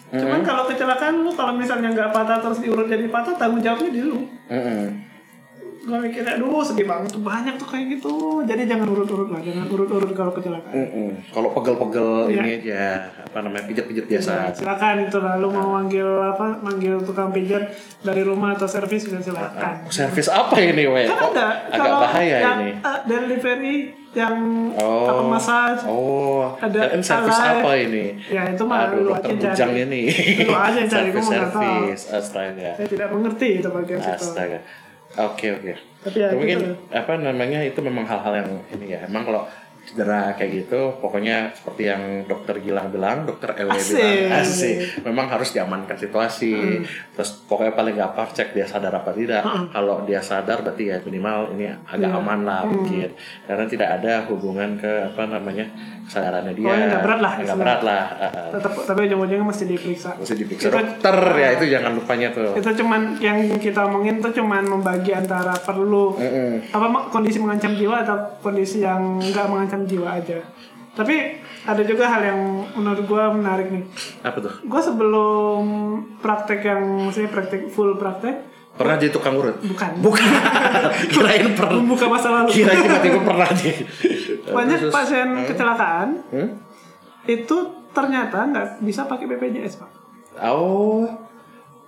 Mm-hmm. cuman kalau kecelakaan lu kalau misalnya nggak patah terus diurut jadi patah tanggung jawabnya di lu Mm-mm. gua mikirnya dulu sedih banget tuh banyak tuh kayak gitu jadi jangan urut-urut lah jangan urut-urut kalau kecelakaan Mm-mm. kalau pegel-pegel Iya. ini aja apa namanya pijat-pijat biasa silakan itu lah lu mau manggil apa manggil tukang pijat dari rumah atau servis bisa silakan servis apa ini weh kan Kok ada Mm-hmm. agak kalau bahaya yang, ini eh, delivery yang Oh. apa massage Oh, Ada ada servis salah. apa ini? Ya, itu mah Aduh, lu dokter aja bujang cari. ini. Lu aja cari, gua nggak tahu. Gitu. Servis-servis, astaga. saya tidak mengerti itu bagian situ Astaga. kan Oke, oke. Tapi ya mungkin gitu. apa namanya itu memang hal-hal yang ini ya. Emang kalau cedera kayak gitu, pokoknya seperti yang dokter Gilang bilang, dokter Ewe Asik. Hmm. bilang, asik. Memang harus diamankan situasi. Terus pokoknya paling gampang cek dia sadar apa tidak. Kalau dia sadar berarti ya minimal ini agak Iya. aman lah Hmm. mungkin. Karena tidak ada hubungan ke apa namanya kesadarannya dia. Pokoknya nggak berat lah, Nggak berat lah. eh, eh. tetap tapi ujung-ujungnya mesti diperiksa Mesti diperiksa Itu- dokter ya itu jangan lupanya tuh. itu cuman yang kita omongin tuh cuman membagi antara perlu Mm-mm. apa ma- kondisi mengancam jiwa atau kondisi yang nggak mengancam jiwa aja tapi ada juga hal yang menurut gua menarik nih Apa tuh? Gua sebelum praktek yang maksudnya praktek full praktek Pernah jadi tukang urut? Bukan. Bukan. Kirain pernah. membuka masa lalu Kirain tiba-tiba pernah jadi. banyak Terus- pasien kecelakaan Hmm? itu ternyata nggak bisa pakai BPJS pak Oh,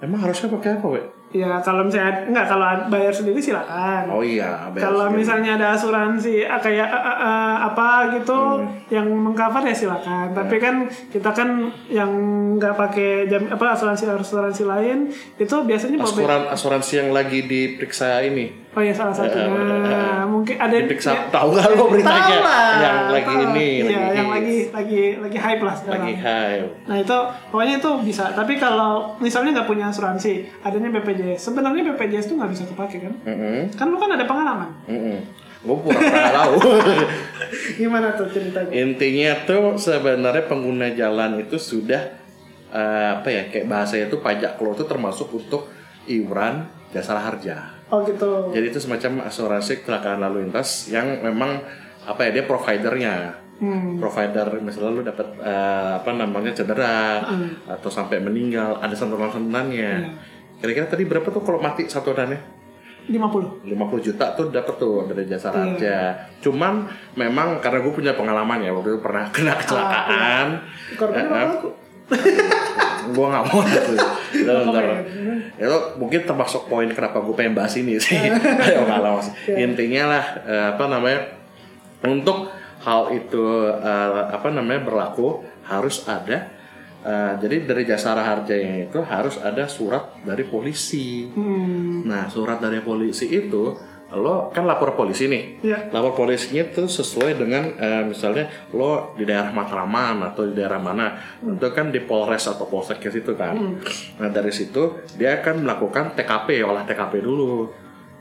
emang harusnya pakai apa, we? ya kalau misalnya nggak kalau bayar sendiri silakan Oh iya, bayar kalau sendiri. misalnya ada asuransi ah, kayak ah, ah, ah, apa gitu Hmm. yang mengcover ya silakan tapi kan kita kan yang nggak pakai jam apa asuransi asuransi lain itu biasanya bawa B- asuran asuransi yang lagi diperiksa ini. oh ya salah satunya Nah, mungkin ada Diperiksa tahu nggak lo beritanya? ya, Tahu lah, yang lagi tahu. ini, Iya, lagi yang hits, lagi lagi lagi hype lah sekarang lagi high. Nah itu pokoknya itu bisa. Tapi kalau misalnya nggak punya asuransi, adanya BPJS. Sebenarnya BPJS itu nggak bisa kepake kan? Mm-mm, Kan lu kan ada pengalaman. mm-mm. Gue pura-pura nggak tahu. Iya. Gimana tuh ceritanya? Intinya tuh sebenarnya pengguna jalan itu sudah eh, apa ya kayak bahasanya itu pajak keluar itu termasuk untuk iuran jasa harja. Oh gitu. Jadi itu semacam asuransi kecelakaan lalu lintas yang memang apa ya dia providernya. Hmm. Provider misalnya lu dapat eh, apa namanya cedera atau sampai meninggal ada santunan-santunannya. Kira-kira tadi berapa tuh kalau mati santunannya? 50. 50 juta tuh dapet tuh dari jasa raja. Cuman memang karena gue punya pengalaman ya waktu itu pernah kena kecelakaan. Ah, iya. Korbannya Eh, eh, berapa aku? gue nggak mau itu. Bentar, bentar. Oke. Itu mungkin termasuk poin kenapa gue pengen bahas ini sih. Ayo kalau intinya lah eh, apa namanya untuk hal itu eh, apa namanya berlaku harus ada eh, jadi dari jasa raharja itu harus ada surat dari polisi. Hmm. Nah, surat dari polisi itu lo kan lapor polisi nih. Iya. Lapor polisinya itu sesuai dengan eh, misalnya lo di daerah Matraman atau di daerah mana. Hmm. Itu kan di Polres atau Polsek situ kan. Nah, dari situ dia akan melakukan TKP, olah TKP dulu.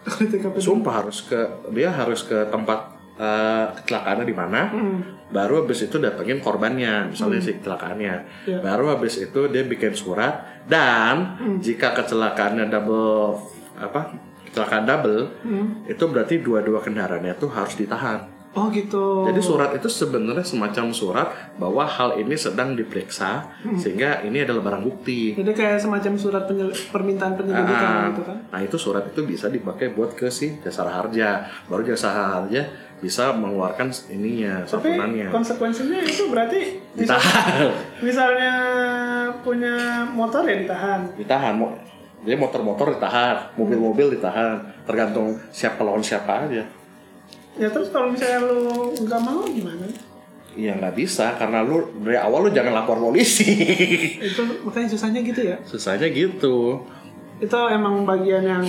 Kalau TKP. Sumpah harus ke dia harus ke tempat eh, kecelakaannya di mana. Hmm. Baru habis itu datengin korbannya, misalnya si kecelakaannya. Iya. Baru habis itu dia bikin surat dan Hmm. jika kecelakaannya double apa? Kecelakaan double Hmm. itu berarti dua-dua kendaraannya itu harus ditahan. Oh gitu. Jadi surat itu sebenarnya semacam surat bahwa hal ini sedang diperiksa Hmm. sehingga ini adalah barang bukti. Jadi kayak semacam surat penyel- permintaan penyelidikan Ah, gitu kan? Nah itu surat itu bisa dipakai buat ke si jasa harja. Baru jasa harja bisa mengeluarkan ininya, Tapi santunannya. konsekuensinya itu berarti misal- Ditahan, misalnya punya motor ya ditahan. ditahan. Mo- Jadi motor-motor ditahan, mobil-mobil ditahan, tergantung siapa lawan siapa aja. Ya terus kalau misalnya lu nggak mau gimana? Iya nggak bisa karena lu dari awal lu jangan lapor polisi. itu makanya susahnya gitu ya Susahnya gitu. itu emang bagian yang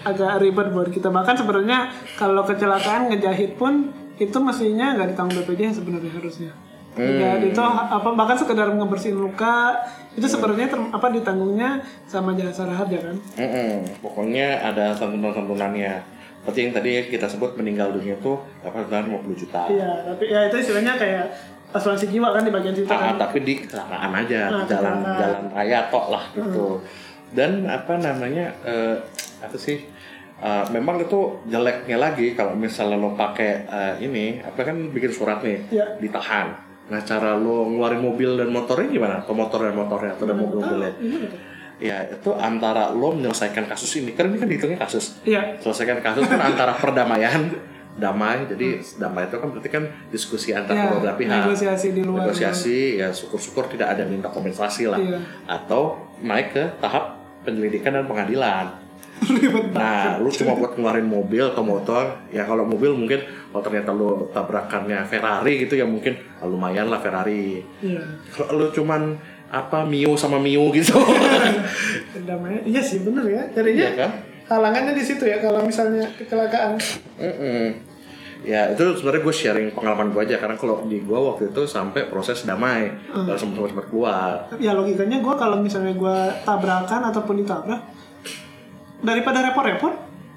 agak ribet buat kita bahkan sebenarnya kalau kecelakaan ngejahit pun itu mestinya nggak ditanggung BPJS sebenarnya harusnya Hmm. Dan itu apa bahkan sekedar ngebersihin luka itu sebenarnya term- apa ditanggungnya sama jasa raharja kan? Mm-mm. Pokoknya ada santunan-santunannya. Seperti yang tadi kita sebut meninggal dunia tuh dapat santunan 50 juta. Iya, tapi ya itu istilahnya kayak asuransi jiwa kan di bagian situ Ah, kan. tapi di kecelakaan aja, Nah, di jalan kecelakaan. jalan raya tok lah gitu. Dan apa namanya eh, apa sih? eh, memang itu jeleknya lagi kalau misalnya lo pakai eh, ini, apa kan bikin surat nih Iya. ditahan. Nah cara lo ngeluarin mobil dan motornya gimana? Atau motor dan motornya atau dan mobil mobilnya? Iya, betul. Ya itu antara lo menyelesaikan kasus ini, karena ini kan dihitungnya kasus Iya, selesaikan kasus kan antara perdamaian damai jadi damai itu kan berarti kan diskusi iya, antara kedua belah pihak negosiasi di luar. negosiasi ya syukur-sykur tidak ada minta kompensasi lah Iya. atau naik ke tahap penyelidikan dan pengadilan Ribet banget. nah lu cuma buat ngeluarin mobil atau motor ya kalau mobil mungkin kalau ternyata lu tabrakannya Ferrari gitu ya mungkin ah, lumayan lah Ferrari Iya. kalau lu cuman apa Mio sama Mio gitu Damai. Iya sih benar ya. Jadinya Iya kan halangannya di situ ya kalau misalnya kecelakaan. Mm-mm. Ya itu sebenarnya gue sharing pengalaman gue aja karena kalau di gue waktu itu sampai proses damai Hmm. lalu sempat sempat keluar. Ya logikanya gue kalau misalnya gue tabrakan ataupun ditabrak daripada repot-repot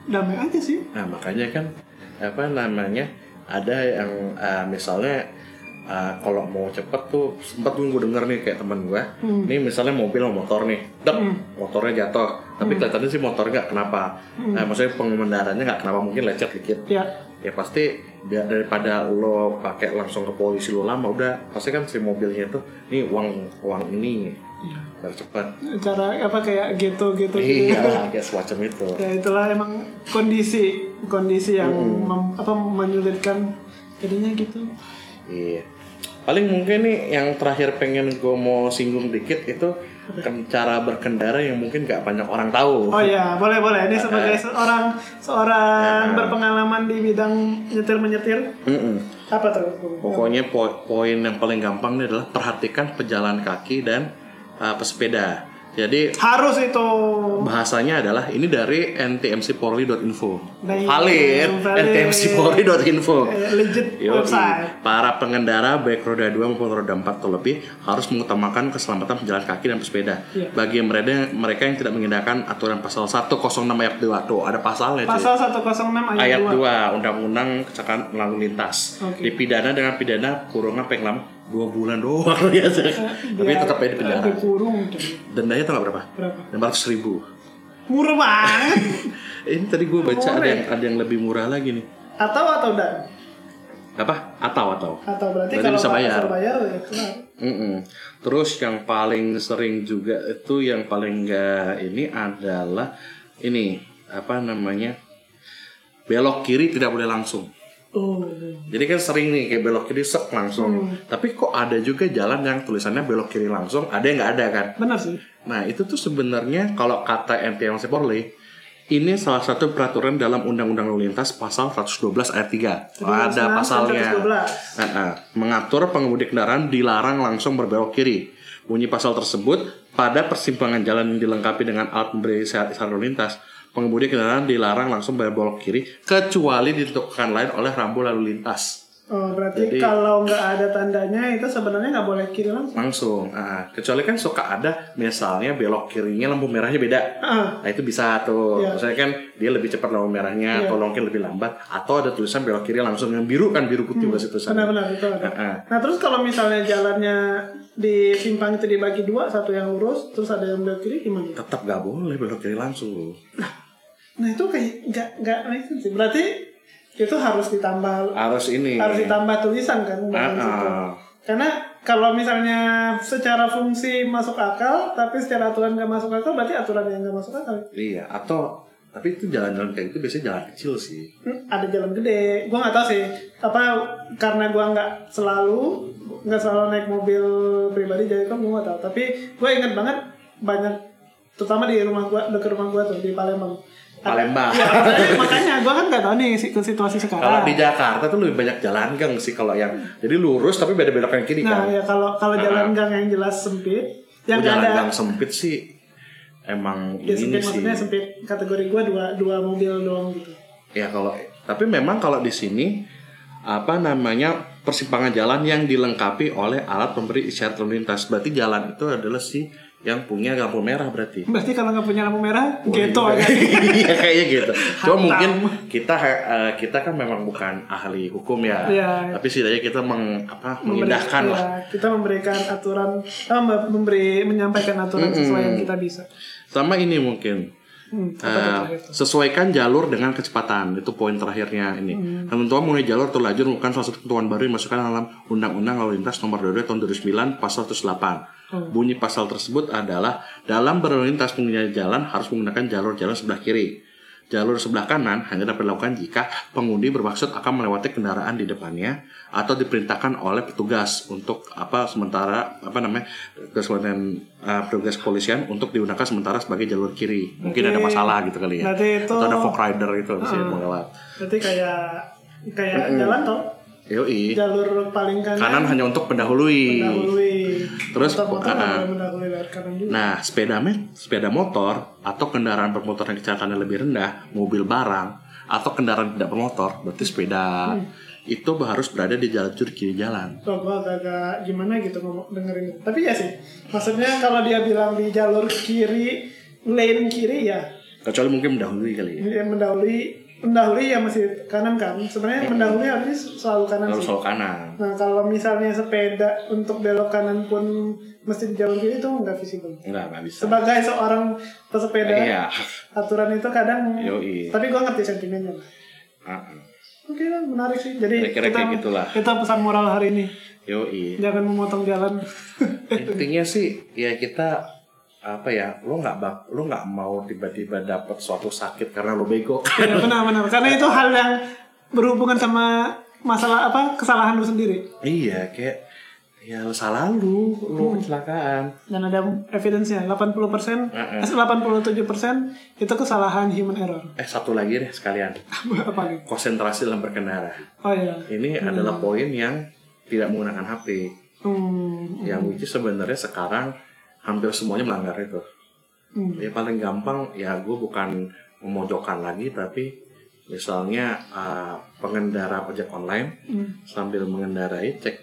damai aja sih. Nah makanya kan apa namanya ada yang eh, misalnya eh, kalau mau cepet tuh sempat gue denger nih kayak teman gue, Hmm. nih misalnya mobil sama motor nih, dek Hmm. motornya jatuh, tapi kelihatannya sih motor nggak kenapa, Hmm. Eh, maksudnya pengendaranya nggak kenapa mungkin lecet dikit, Ya, ya pasti biar daripada lo pakai langsung ke polisi lo lama udah pasti kan si mobilnya itu ini uang uang ini biar cepat ya. cara apa kayak ghetto-ghetto gitu. iya kayak semacam itu Ya itulah emang kondisi kondisi yang mem- apa menyulitkan jadinya gitu. iya paling mungkin nih yang terakhir pengen gue mau singgung dikit itu ken- cara berkendara yang mungkin gak banyak orang tahu Oh ya, boleh boleh. Ini sebagai seorang Ya. seorang berpengalaman di bidang nyetir menyetir Mm-mm. apa tuh? pokoknya po- poin yang paling gampang nih adalah perhatikan pejalan kaki dan uh, pesepeda jadi Harus itu. bahasanya adalah ini dari ntmcpolri.info Dari- valid valid. ntmcpolri.info Eh, Legit Oh. Yoi. website. Para pengendara baik roda 2 maupun roda 4 atau lebih harus mengutamakan keselamatan pejalan kaki dan pesepeda. Iya. Bagi mereka mereka yang tidak mengindahkan aturan pasal 106 ayat 2 tuh ada pasalnya cuy. Pasal 106 ayat ayat 2. 2 Undang-Undang Kecelakaan Lalu Lintas Oke. dipidana dengan pidana kurungan paling lama 2 bulan doang ya. Iya. Tapi tetap aja di penjara. Dikurung cuy. Dendanya tau gak berapa? Berapa? 600 ribu. Murah banget. Ini tadi gue baca Murah ada ya? yang ada yang lebih murah lagi nih. atau atau dan Apa? Atau atau. atau berarti, Berarti kalau bisa nggak bayar. bisa bayar ya kena. Mm-mm. Terus yang paling sering juga itu yang paling enggak ini adalah ini apa namanya belok kiri tidak boleh langsung. Oh. Jadi kan sering nih kayak belok kiri sek langsung. Tapi kok ada juga jalan yang tulisannya belok kiri langsung, ada yang nggak ada kan? Benar sih. Nah itu tuh sebenarnya kalau kata MTM Porley ini salah satu peraturan dalam Undang-Undang Lalu Lintas pasal 112 ayat 3. Ada 112. pasalnya. Ah, ah. Mengatur pengemudi kendaraan dilarang langsung berbelok kiri. Bunyi pasal tersebut pada persimpangan jalan yang dilengkapi dengan alat pemberi isyarat isyarat lalu lintas. Pengemudi kendaraan dilarang langsung berbelok kiri kecuali ditentukan lain oleh rambu lalu lintas. Oh, berarti Jadi- kalau nggak ada tandanya itu sebenarnya nggak boleh kiri langsung. Langsung. Ah, kecuali kan suka ada misalnya belok kirinya lampu merahnya beda. Ah, Nah itu bisa tuh, Iya. misalnya kan dia lebih cepat lampu merahnya, Iya. atau mungkin lebih lambat, atau ada tulisan belok kiri langsung yang biru kan biru Hmm, putih bahasa tulisan. benar-benar itu ada. Heeh. Nah, terus kalau misalnya jalannya di simpang itu dibagi dua, satu yang lurus, terus ada yang belok kiri gimana? Tetap gak boleh belok kiri langsung. Nah, itu kayak nggak nggak make sense sih. Berarti itu harus ditambah Harus ini. harus ditambah tulisan kan bagian iya. Ah, situ. ah. Karena kalau misalnya secara fungsi masuk akal, tapi secara aturan nggak masuk akal, berarti aturan yang nggak masuk akal. Iya, atau tapi itu jalan-jalan kayak itu biasanya jalan kecil sih. Hmm, ada jalan gede gua nggak tahu sih apa karena gua nggak selalu nggak selalu naik mobil pribadi jadi kan gua nggak tahu tapi gua inget banget banyak terutama di rumah gua dekat rumah gua tuh di Palembang Palembang. Ya, makanya- makanya gua kan nggak tahu nih si- situasi Kalau sekarang di Jakarta tuh lebih banyak jalan gang sih kalau yang jadi lurus tapi beda belok yang kiri nah kan. ya kalau kalau jalan gang yang jelas sempit yang nggak Kalau jalan ada gang sempit sih emang ya ini sempit sih. maksudnya sempit kategori gua dua dua mobil doang gitu Ya kalau tapi memang kalau di sini apa namanya persimpangan jalan yang dilengkapi oleh alat pemberi isyarat lalu lintas. Berarti jalan itu adalah si yang punya lampu merah berarti. Berarti kalau nggak punya lampu merah, ya. geto Iya, agak. Iya kayaknya gitu. Cuma Hantam. mungkin kita eh, kita kan memang bukan ahli hukum ya. Iya. Tapi setidaknya kita meng, apa, Memberi- mengindahkan lah. ya, Kita memberikan aturan, ah, me- memberi menyampaikan aturan sesuai yang kita bisa. Sama ini mungkin. Hmm, apa tuh Eh, terakhir tuh? sesuaikan jalur dengan kecepatan itu poin terakhirnya ini ketentuan mengenai jalur atau lajur bukan salah satu ketentuan baru yang dimasukkan dalam undang-undang lalu lintas nomor 22 tahun 2009 pasal 108 bunyi pasal tersebut adalah dalam berlalu lintas pengguna jalan harus menggunakan jalur-jalur sebelah kiri jalur sebelah kanan hanya dapat dilakukan jika pengundi bermaksud akan melewati kendaraan di depannya atau diperintahkan oleh petugas untuk apa sementara apa namanya kesulitan eh, petugas kepolisian untuk digunakan sementara sebagai jalur kiri mungkin ada Berarti- masalah gitu kali ya berarti itu- atau ada fork rider gitu bisa Ah. melewat Berarti kayak kayak jalan tuh, yoi jalur paling kanan, kanan hanya untuk pendahului mendahului. Terus, motor ah, ada mendahului lewat kanan juga. Nah, sepeda men, sepeda motor atau kendaraan bermotor yang kecelakaannya lebih rendah, mobil barang atau kendaraan tidak bermotor, berarti sepeda Hmm. itu harus berada di jalur kiri jalan. Tuh, gue agak gimana gitu ngomong dengerin itu. Tapi ya sih, maksudnya kalau dia bilang di jalur kiri, lane kiri ya, Kecuali mungkin mendahului kali ya. dia Iya, mendahului mendahului ya masih kanan kan. Sebenarnya mendahului harusnya selalu kanan Harus sih. Iya. selalu kanan. Nah kalau misalnya sepeda untuk belok kanan pun mesti di jalur kiri itu nggak visible. Enggak, enggak bisa. Sebagai seorang pesepeda, Iya. aturan itu kadang. Yoi. Tapi gue ngerti sentimennya. lah. Ah, ah. Oke lah, menarik sih. Jadi Kira-kira kita, kayak gitulah. kita pesan moral hari ini, Yoi. jangan memotong jalan. Intinya sih ya kita apa ya, lo nggak bak- lo nggak mau tiba-tiba dapat suatu sakit karena lo bego. ya, benar-benar. Karena itu hal yang berhubungan sama masalah apa kesalahan lu sendiri. iya, kayak ya lo salah lu, Hmm. lo kecelakaan. Dan ada evidence-nya, 80%, Heeh. 87% itu kesalahan human error. Eh satu lagi deh sekalian apa lagi? konsentrasi dalam berkendara. Oh iya. Ini adalah poin yang tidak menggunakan HP. Hmm. Yang which is sebenarnya sekarang hampir semuanya melanggar itu. Hmm. Ya paling gampang ya gue bukan memojokkan lagi tapi misalnya eh, pengendara ojek online hmm. sambil mengendarai cek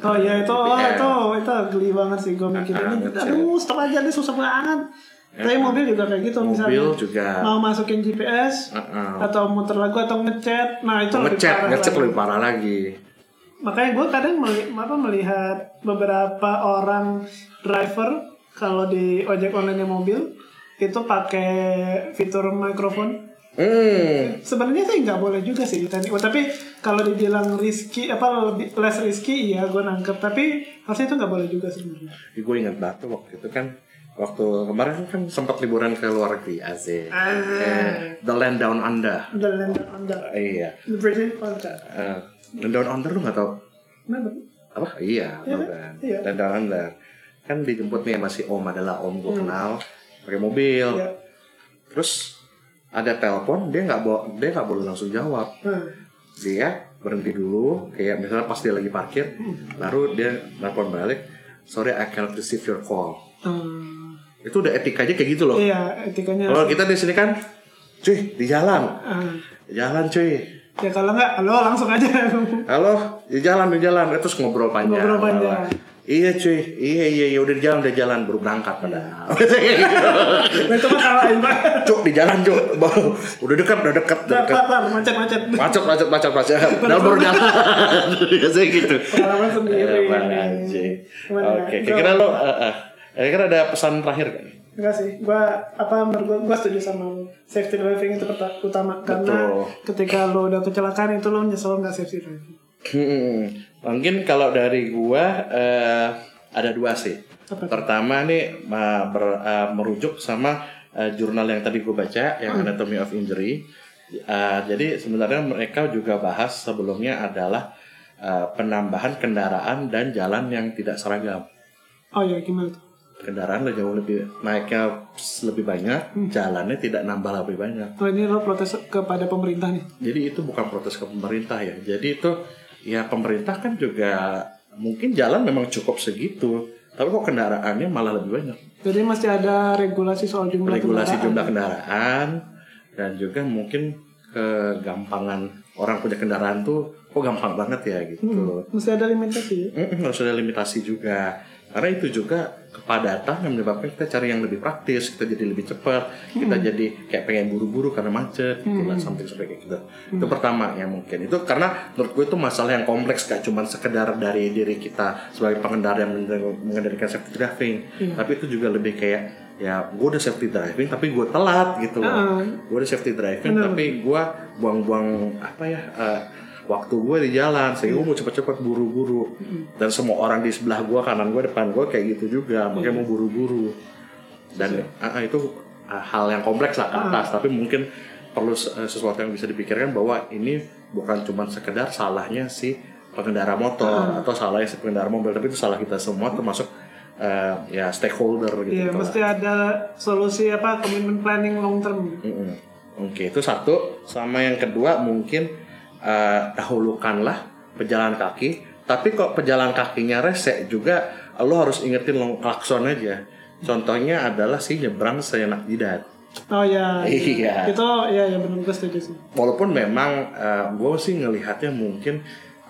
Oh iya itu, oh, VPN. itu, itu geli banget sih gue mikir Ah, ini. betul. Aduh, stop aja nih susah banget. Tapi mobil juga kayak gitu misalnya. Oh. mobil ya. juga Mau masukin GPS Heeh. atau muter lagu atau ngechat, nah itu lebih ngecek parah ngecek lagi. lebih parah lagi. Makanya gue kadang meli- apa, melihat beberapa orang driver kalau di ojek online yang mobil itu pakai fitur microphone Hmm. sebenarnya sih nggak boleh juga sih teknik Oh, tapi kalau dibilang risky apa lebih less risky iya gue nangkep tapi harusnya itu nggak boleh juga sebenarnya Gue ingat banget tuh waktu itu kan waktu kemarin kan sempat liburan ke luar negeri Asik. ah Eh, The Land Down Under. the land under Iya. the British under Eh, Land Down Under lu nggak tau kenapa apa? Iya, Iya, tau kan. iya. Land Down Under. Kan dijemput nih masih om adalah om gue kenal pakai mobil. Hmm. Iya. Terus ada telepon dia nggak bo- dia nggak boleh langsung jawab. Hmm. Dia berhenti dulu kayak misalnya pas dia lagi parkir, Hmm. baru dia telepon balik. Sorry, I cannot receive your call. Hmm. Itu udah etikanya kayak gitu loh. iya etikanya Kalau kita di sini kan, cuy di jalan, Ah. jalan cuy. ya kalau nggak halo langsung aja Halo, di jalan, di jalan. Eh, Terus ngobrol panjang. Ngobrol panjang. Lala. Iya cuy, iya iya iya udah di jalan, udah jalan, baru berangkat padahal. Nah, itu mah salah ini, Pak. cuk di jalan cuk, Baru- udah dekat, udah dekat, udah Pelan, dekat. pelan, macet-macet Macet, macet, macet, macet. Padahal baru jalan. Biasanya gitu. pengalaman sendiri Apaan anjing. Iya, Gimana? Oke, kira-kira lo, eh, eh, kira-kira ada pesan terakhir kan? Enggak sih, gua apa menurut gua, gua setuju sama lu. Safety driving itu peta- utama karena Betul. ketika lo udah kecelakaan itu lo nyesel nggak safety driving. Hmm, mungkin kalau dari gua eh, ada dua sih. Apa? Pertama nih eh, ber- eh, merujuk sama eh, jurnal yang tadi gua baca yang Anatomy of Injury. Eh, jadi sebenarnya mereka juga bahas sebelumnya adalah eh, penambahan kendaraan dan jalan yang tidak seragam. Oh iya gimana tuh? Kendaraan jauh lebih naiknya lebih banyak, jalannya tidak nambah lebih banyak. Oh ini lo protes kepada pemerintah nih. Jadi itu bukan protes ke pemerintah ya. Jadi itu ya pemerintah kan juga mungkin jalan memang cukup segitu. Tapi kok kendaraannya malah lebih banyak. Jadi masih ada regulasi soal jumlah Regulasi kendaraan. jumlah kendaraan dan juga mungkin kegampangan orang punya kendaraan tuh kok gampang banget ya gitu. Hmm, mesti ada limitasi. Mm-mm, harus ada limitasi juga. Karena itu juga kepadatan yang menyebabkan kita cari yang lebih praktis, kita jadi lebih cepat, kita jadi kayak pengen buru-buru karena macet, gitu lah, something seperti kayak gitu. Itu pertama yang mungkin. Itu karena menurut gue itu masalah yang kompleks, gak cuma sekedar dari diri kita sebagai pengendara yang mendar- mengendalikan safety driving, tapi itu juga lebih kayak ya gue udah safety driving tapi gue telat gitu loh Ah, gue udah safety driving Bener. tapi gue buang-buang apa ya eh, waktu gue di jalan sehingga gue mau cepet-cepet buru-buru dan semua orang di sebelah gue kanan gue depan gue kayak gitu Iya. juga makanya mau buru-buru dan ah, ah, itu ah, hal yang kompleks lah ke atas tapi mungkin perlu se- eh, sesuatu yang bisa dipikirkan bahwa ini bukan cuma sekedar salahnya si pengendara motor Ah. atau salahnya si pengendara mobil tapi itu salah kita semua termasuk eh, ya stakeholder gitu Iya, lah. mesti ada solusi apa komitmen planning long term. Mm-mm. Oke, itu satu. Sama yang kedua mungkin eh, dahulukanlah pejalan kaki. Tapi kok pejalan kakinya resek juga, lo harus ingetin lo klakson aja. Contohnya adalah si nyebrang seenak jidat. Oh ya. Iya. Itu ya ya benar gue setuju sih. Walaupun memang gue sih ngelihatnya mungkin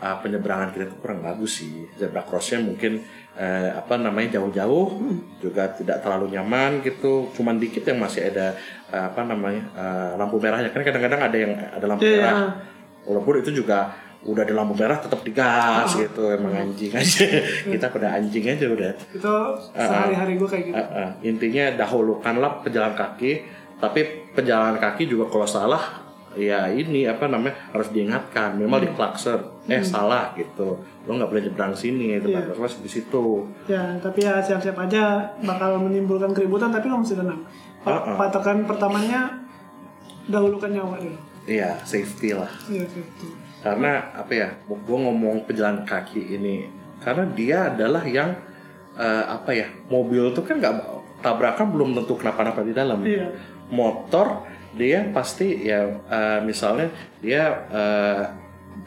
eh, penyeberangan kita itu kurang bagus sih. Zebra crossnya mungkin eh, apa namanya jauh-jauh juga tidak terlalu nyaman gitu. Cuman dikit yang masih ada eh, apa namanya eh, lampu merahnya. Kan kadang-kadang ada yang ada lampu Iya. merah. walaupun itu juga udah ada lampu merah Ah. tetap digas gitu emang anjing aja kita pada anjing aja udah Itu sehari-hari gue kayak gitu. Ah, ah. intinya dahulukanlah pejalan kaki tapi pejalan kaki juga kalau salah ya ini apa namanya harus diingatkan memang diklakser eh salah gitu lo nggak boleh nyebrang sini Iya. tempat yeah. di situ Ya, tapi ya siap-siap aja bakal menimbulkan keributan tapi lo mesti tenang. Pa- Ah, ah. Patokan pertamanya dahulukan nyawa dulu. iya safety lah Iya, gitu. karena apa ya gue ngomong pejalan kaki ini karena dia adalah yang eh, apa ya mobil tuh kan nggak tabrakan belum tentu kenapa-napa di dalam Iya. motor dia pasti ya eh, misalnya dia eh,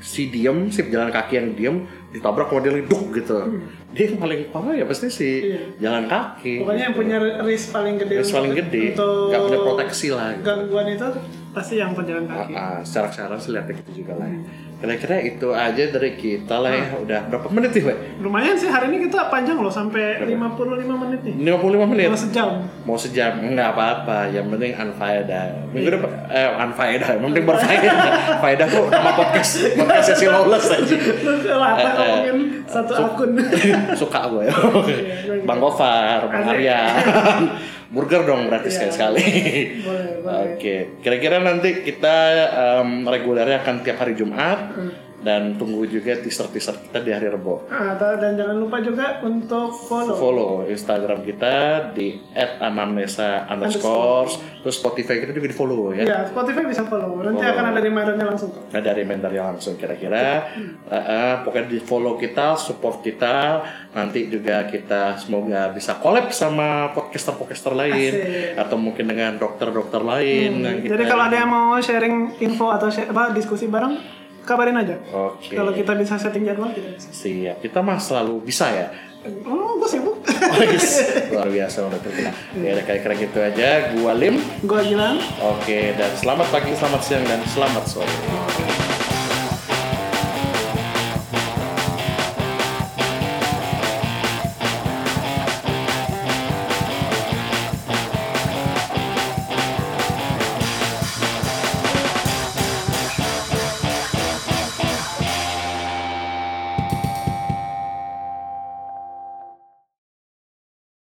si diem si pejalan kaki yang diem ditabrak modelnya duk gitu dia yang paling parah ya pasti si Hmm. Iya. jalan kaki Pokoknya yang punya risk paling gede Terus gitu. paling untuk- gede untuk nggak punya proteksi lah gitu. gangguan itu pasti yang penjalan kaki. Ah, ah, secara secara sih lihatnya gitu juga lah ya. Kira-kira itu aja dari kita lah ya. Udah berapa menit nih, Pak? Lumayan sih hari ini kita panjang loh sampai 55 menit nih. 55 menit. Cuma sejam. Mau sejam nggak apa-apa, yang penting unfaedah. Minggu depan eh unfaedah, yang penting berfaedah. Faedah tuh nama podcast podcast sesi lawless aja. Lata Eh, eh. ngomongin satu akun. Suka gue. Bang Gofar, Bang Arya. Burger dong berarti Iya. sekali-sekali. Boleh, boleh. Oke, kira-kira nanti kita em, regulernya akan tiap hari Jumat Hmm. dan tunggu juga teaser-teaser kita di hari Rebo. Ah, dan jangan lupa juga untuk follow. follow Instagram kita di @anamnesa underscore terus Spotify kita juga di follow ya. Ya, Spotify bisa follow. Nanti Follow. akan ada reminder-nya langsung. kok. Nah, dari mentornya langsung kira-kira Hmm. Eh, eh, pokoknya di follow kita, support kita, nanti juga kita semoga bisa collab sama podcaster-podcaster lain Asik. Hmm, atau mungkin dengan dokter-dokter lain. yang Jadi kita- kalau ada yang mau sharing info atau share- apa, diskusi bareng, kabarin aja. Oke. Kalau kita bisa setting jadwal, kita bisa. Siap, kita mah selalu bisa ya. Oh, gue sibuk. Luar biasa udah terkenal. Hmm. Ya udah kira-kira gitu aja. Gua Lim. gue bilang. Oke, dan selamat pagi, selamat siang, dan selamat sore.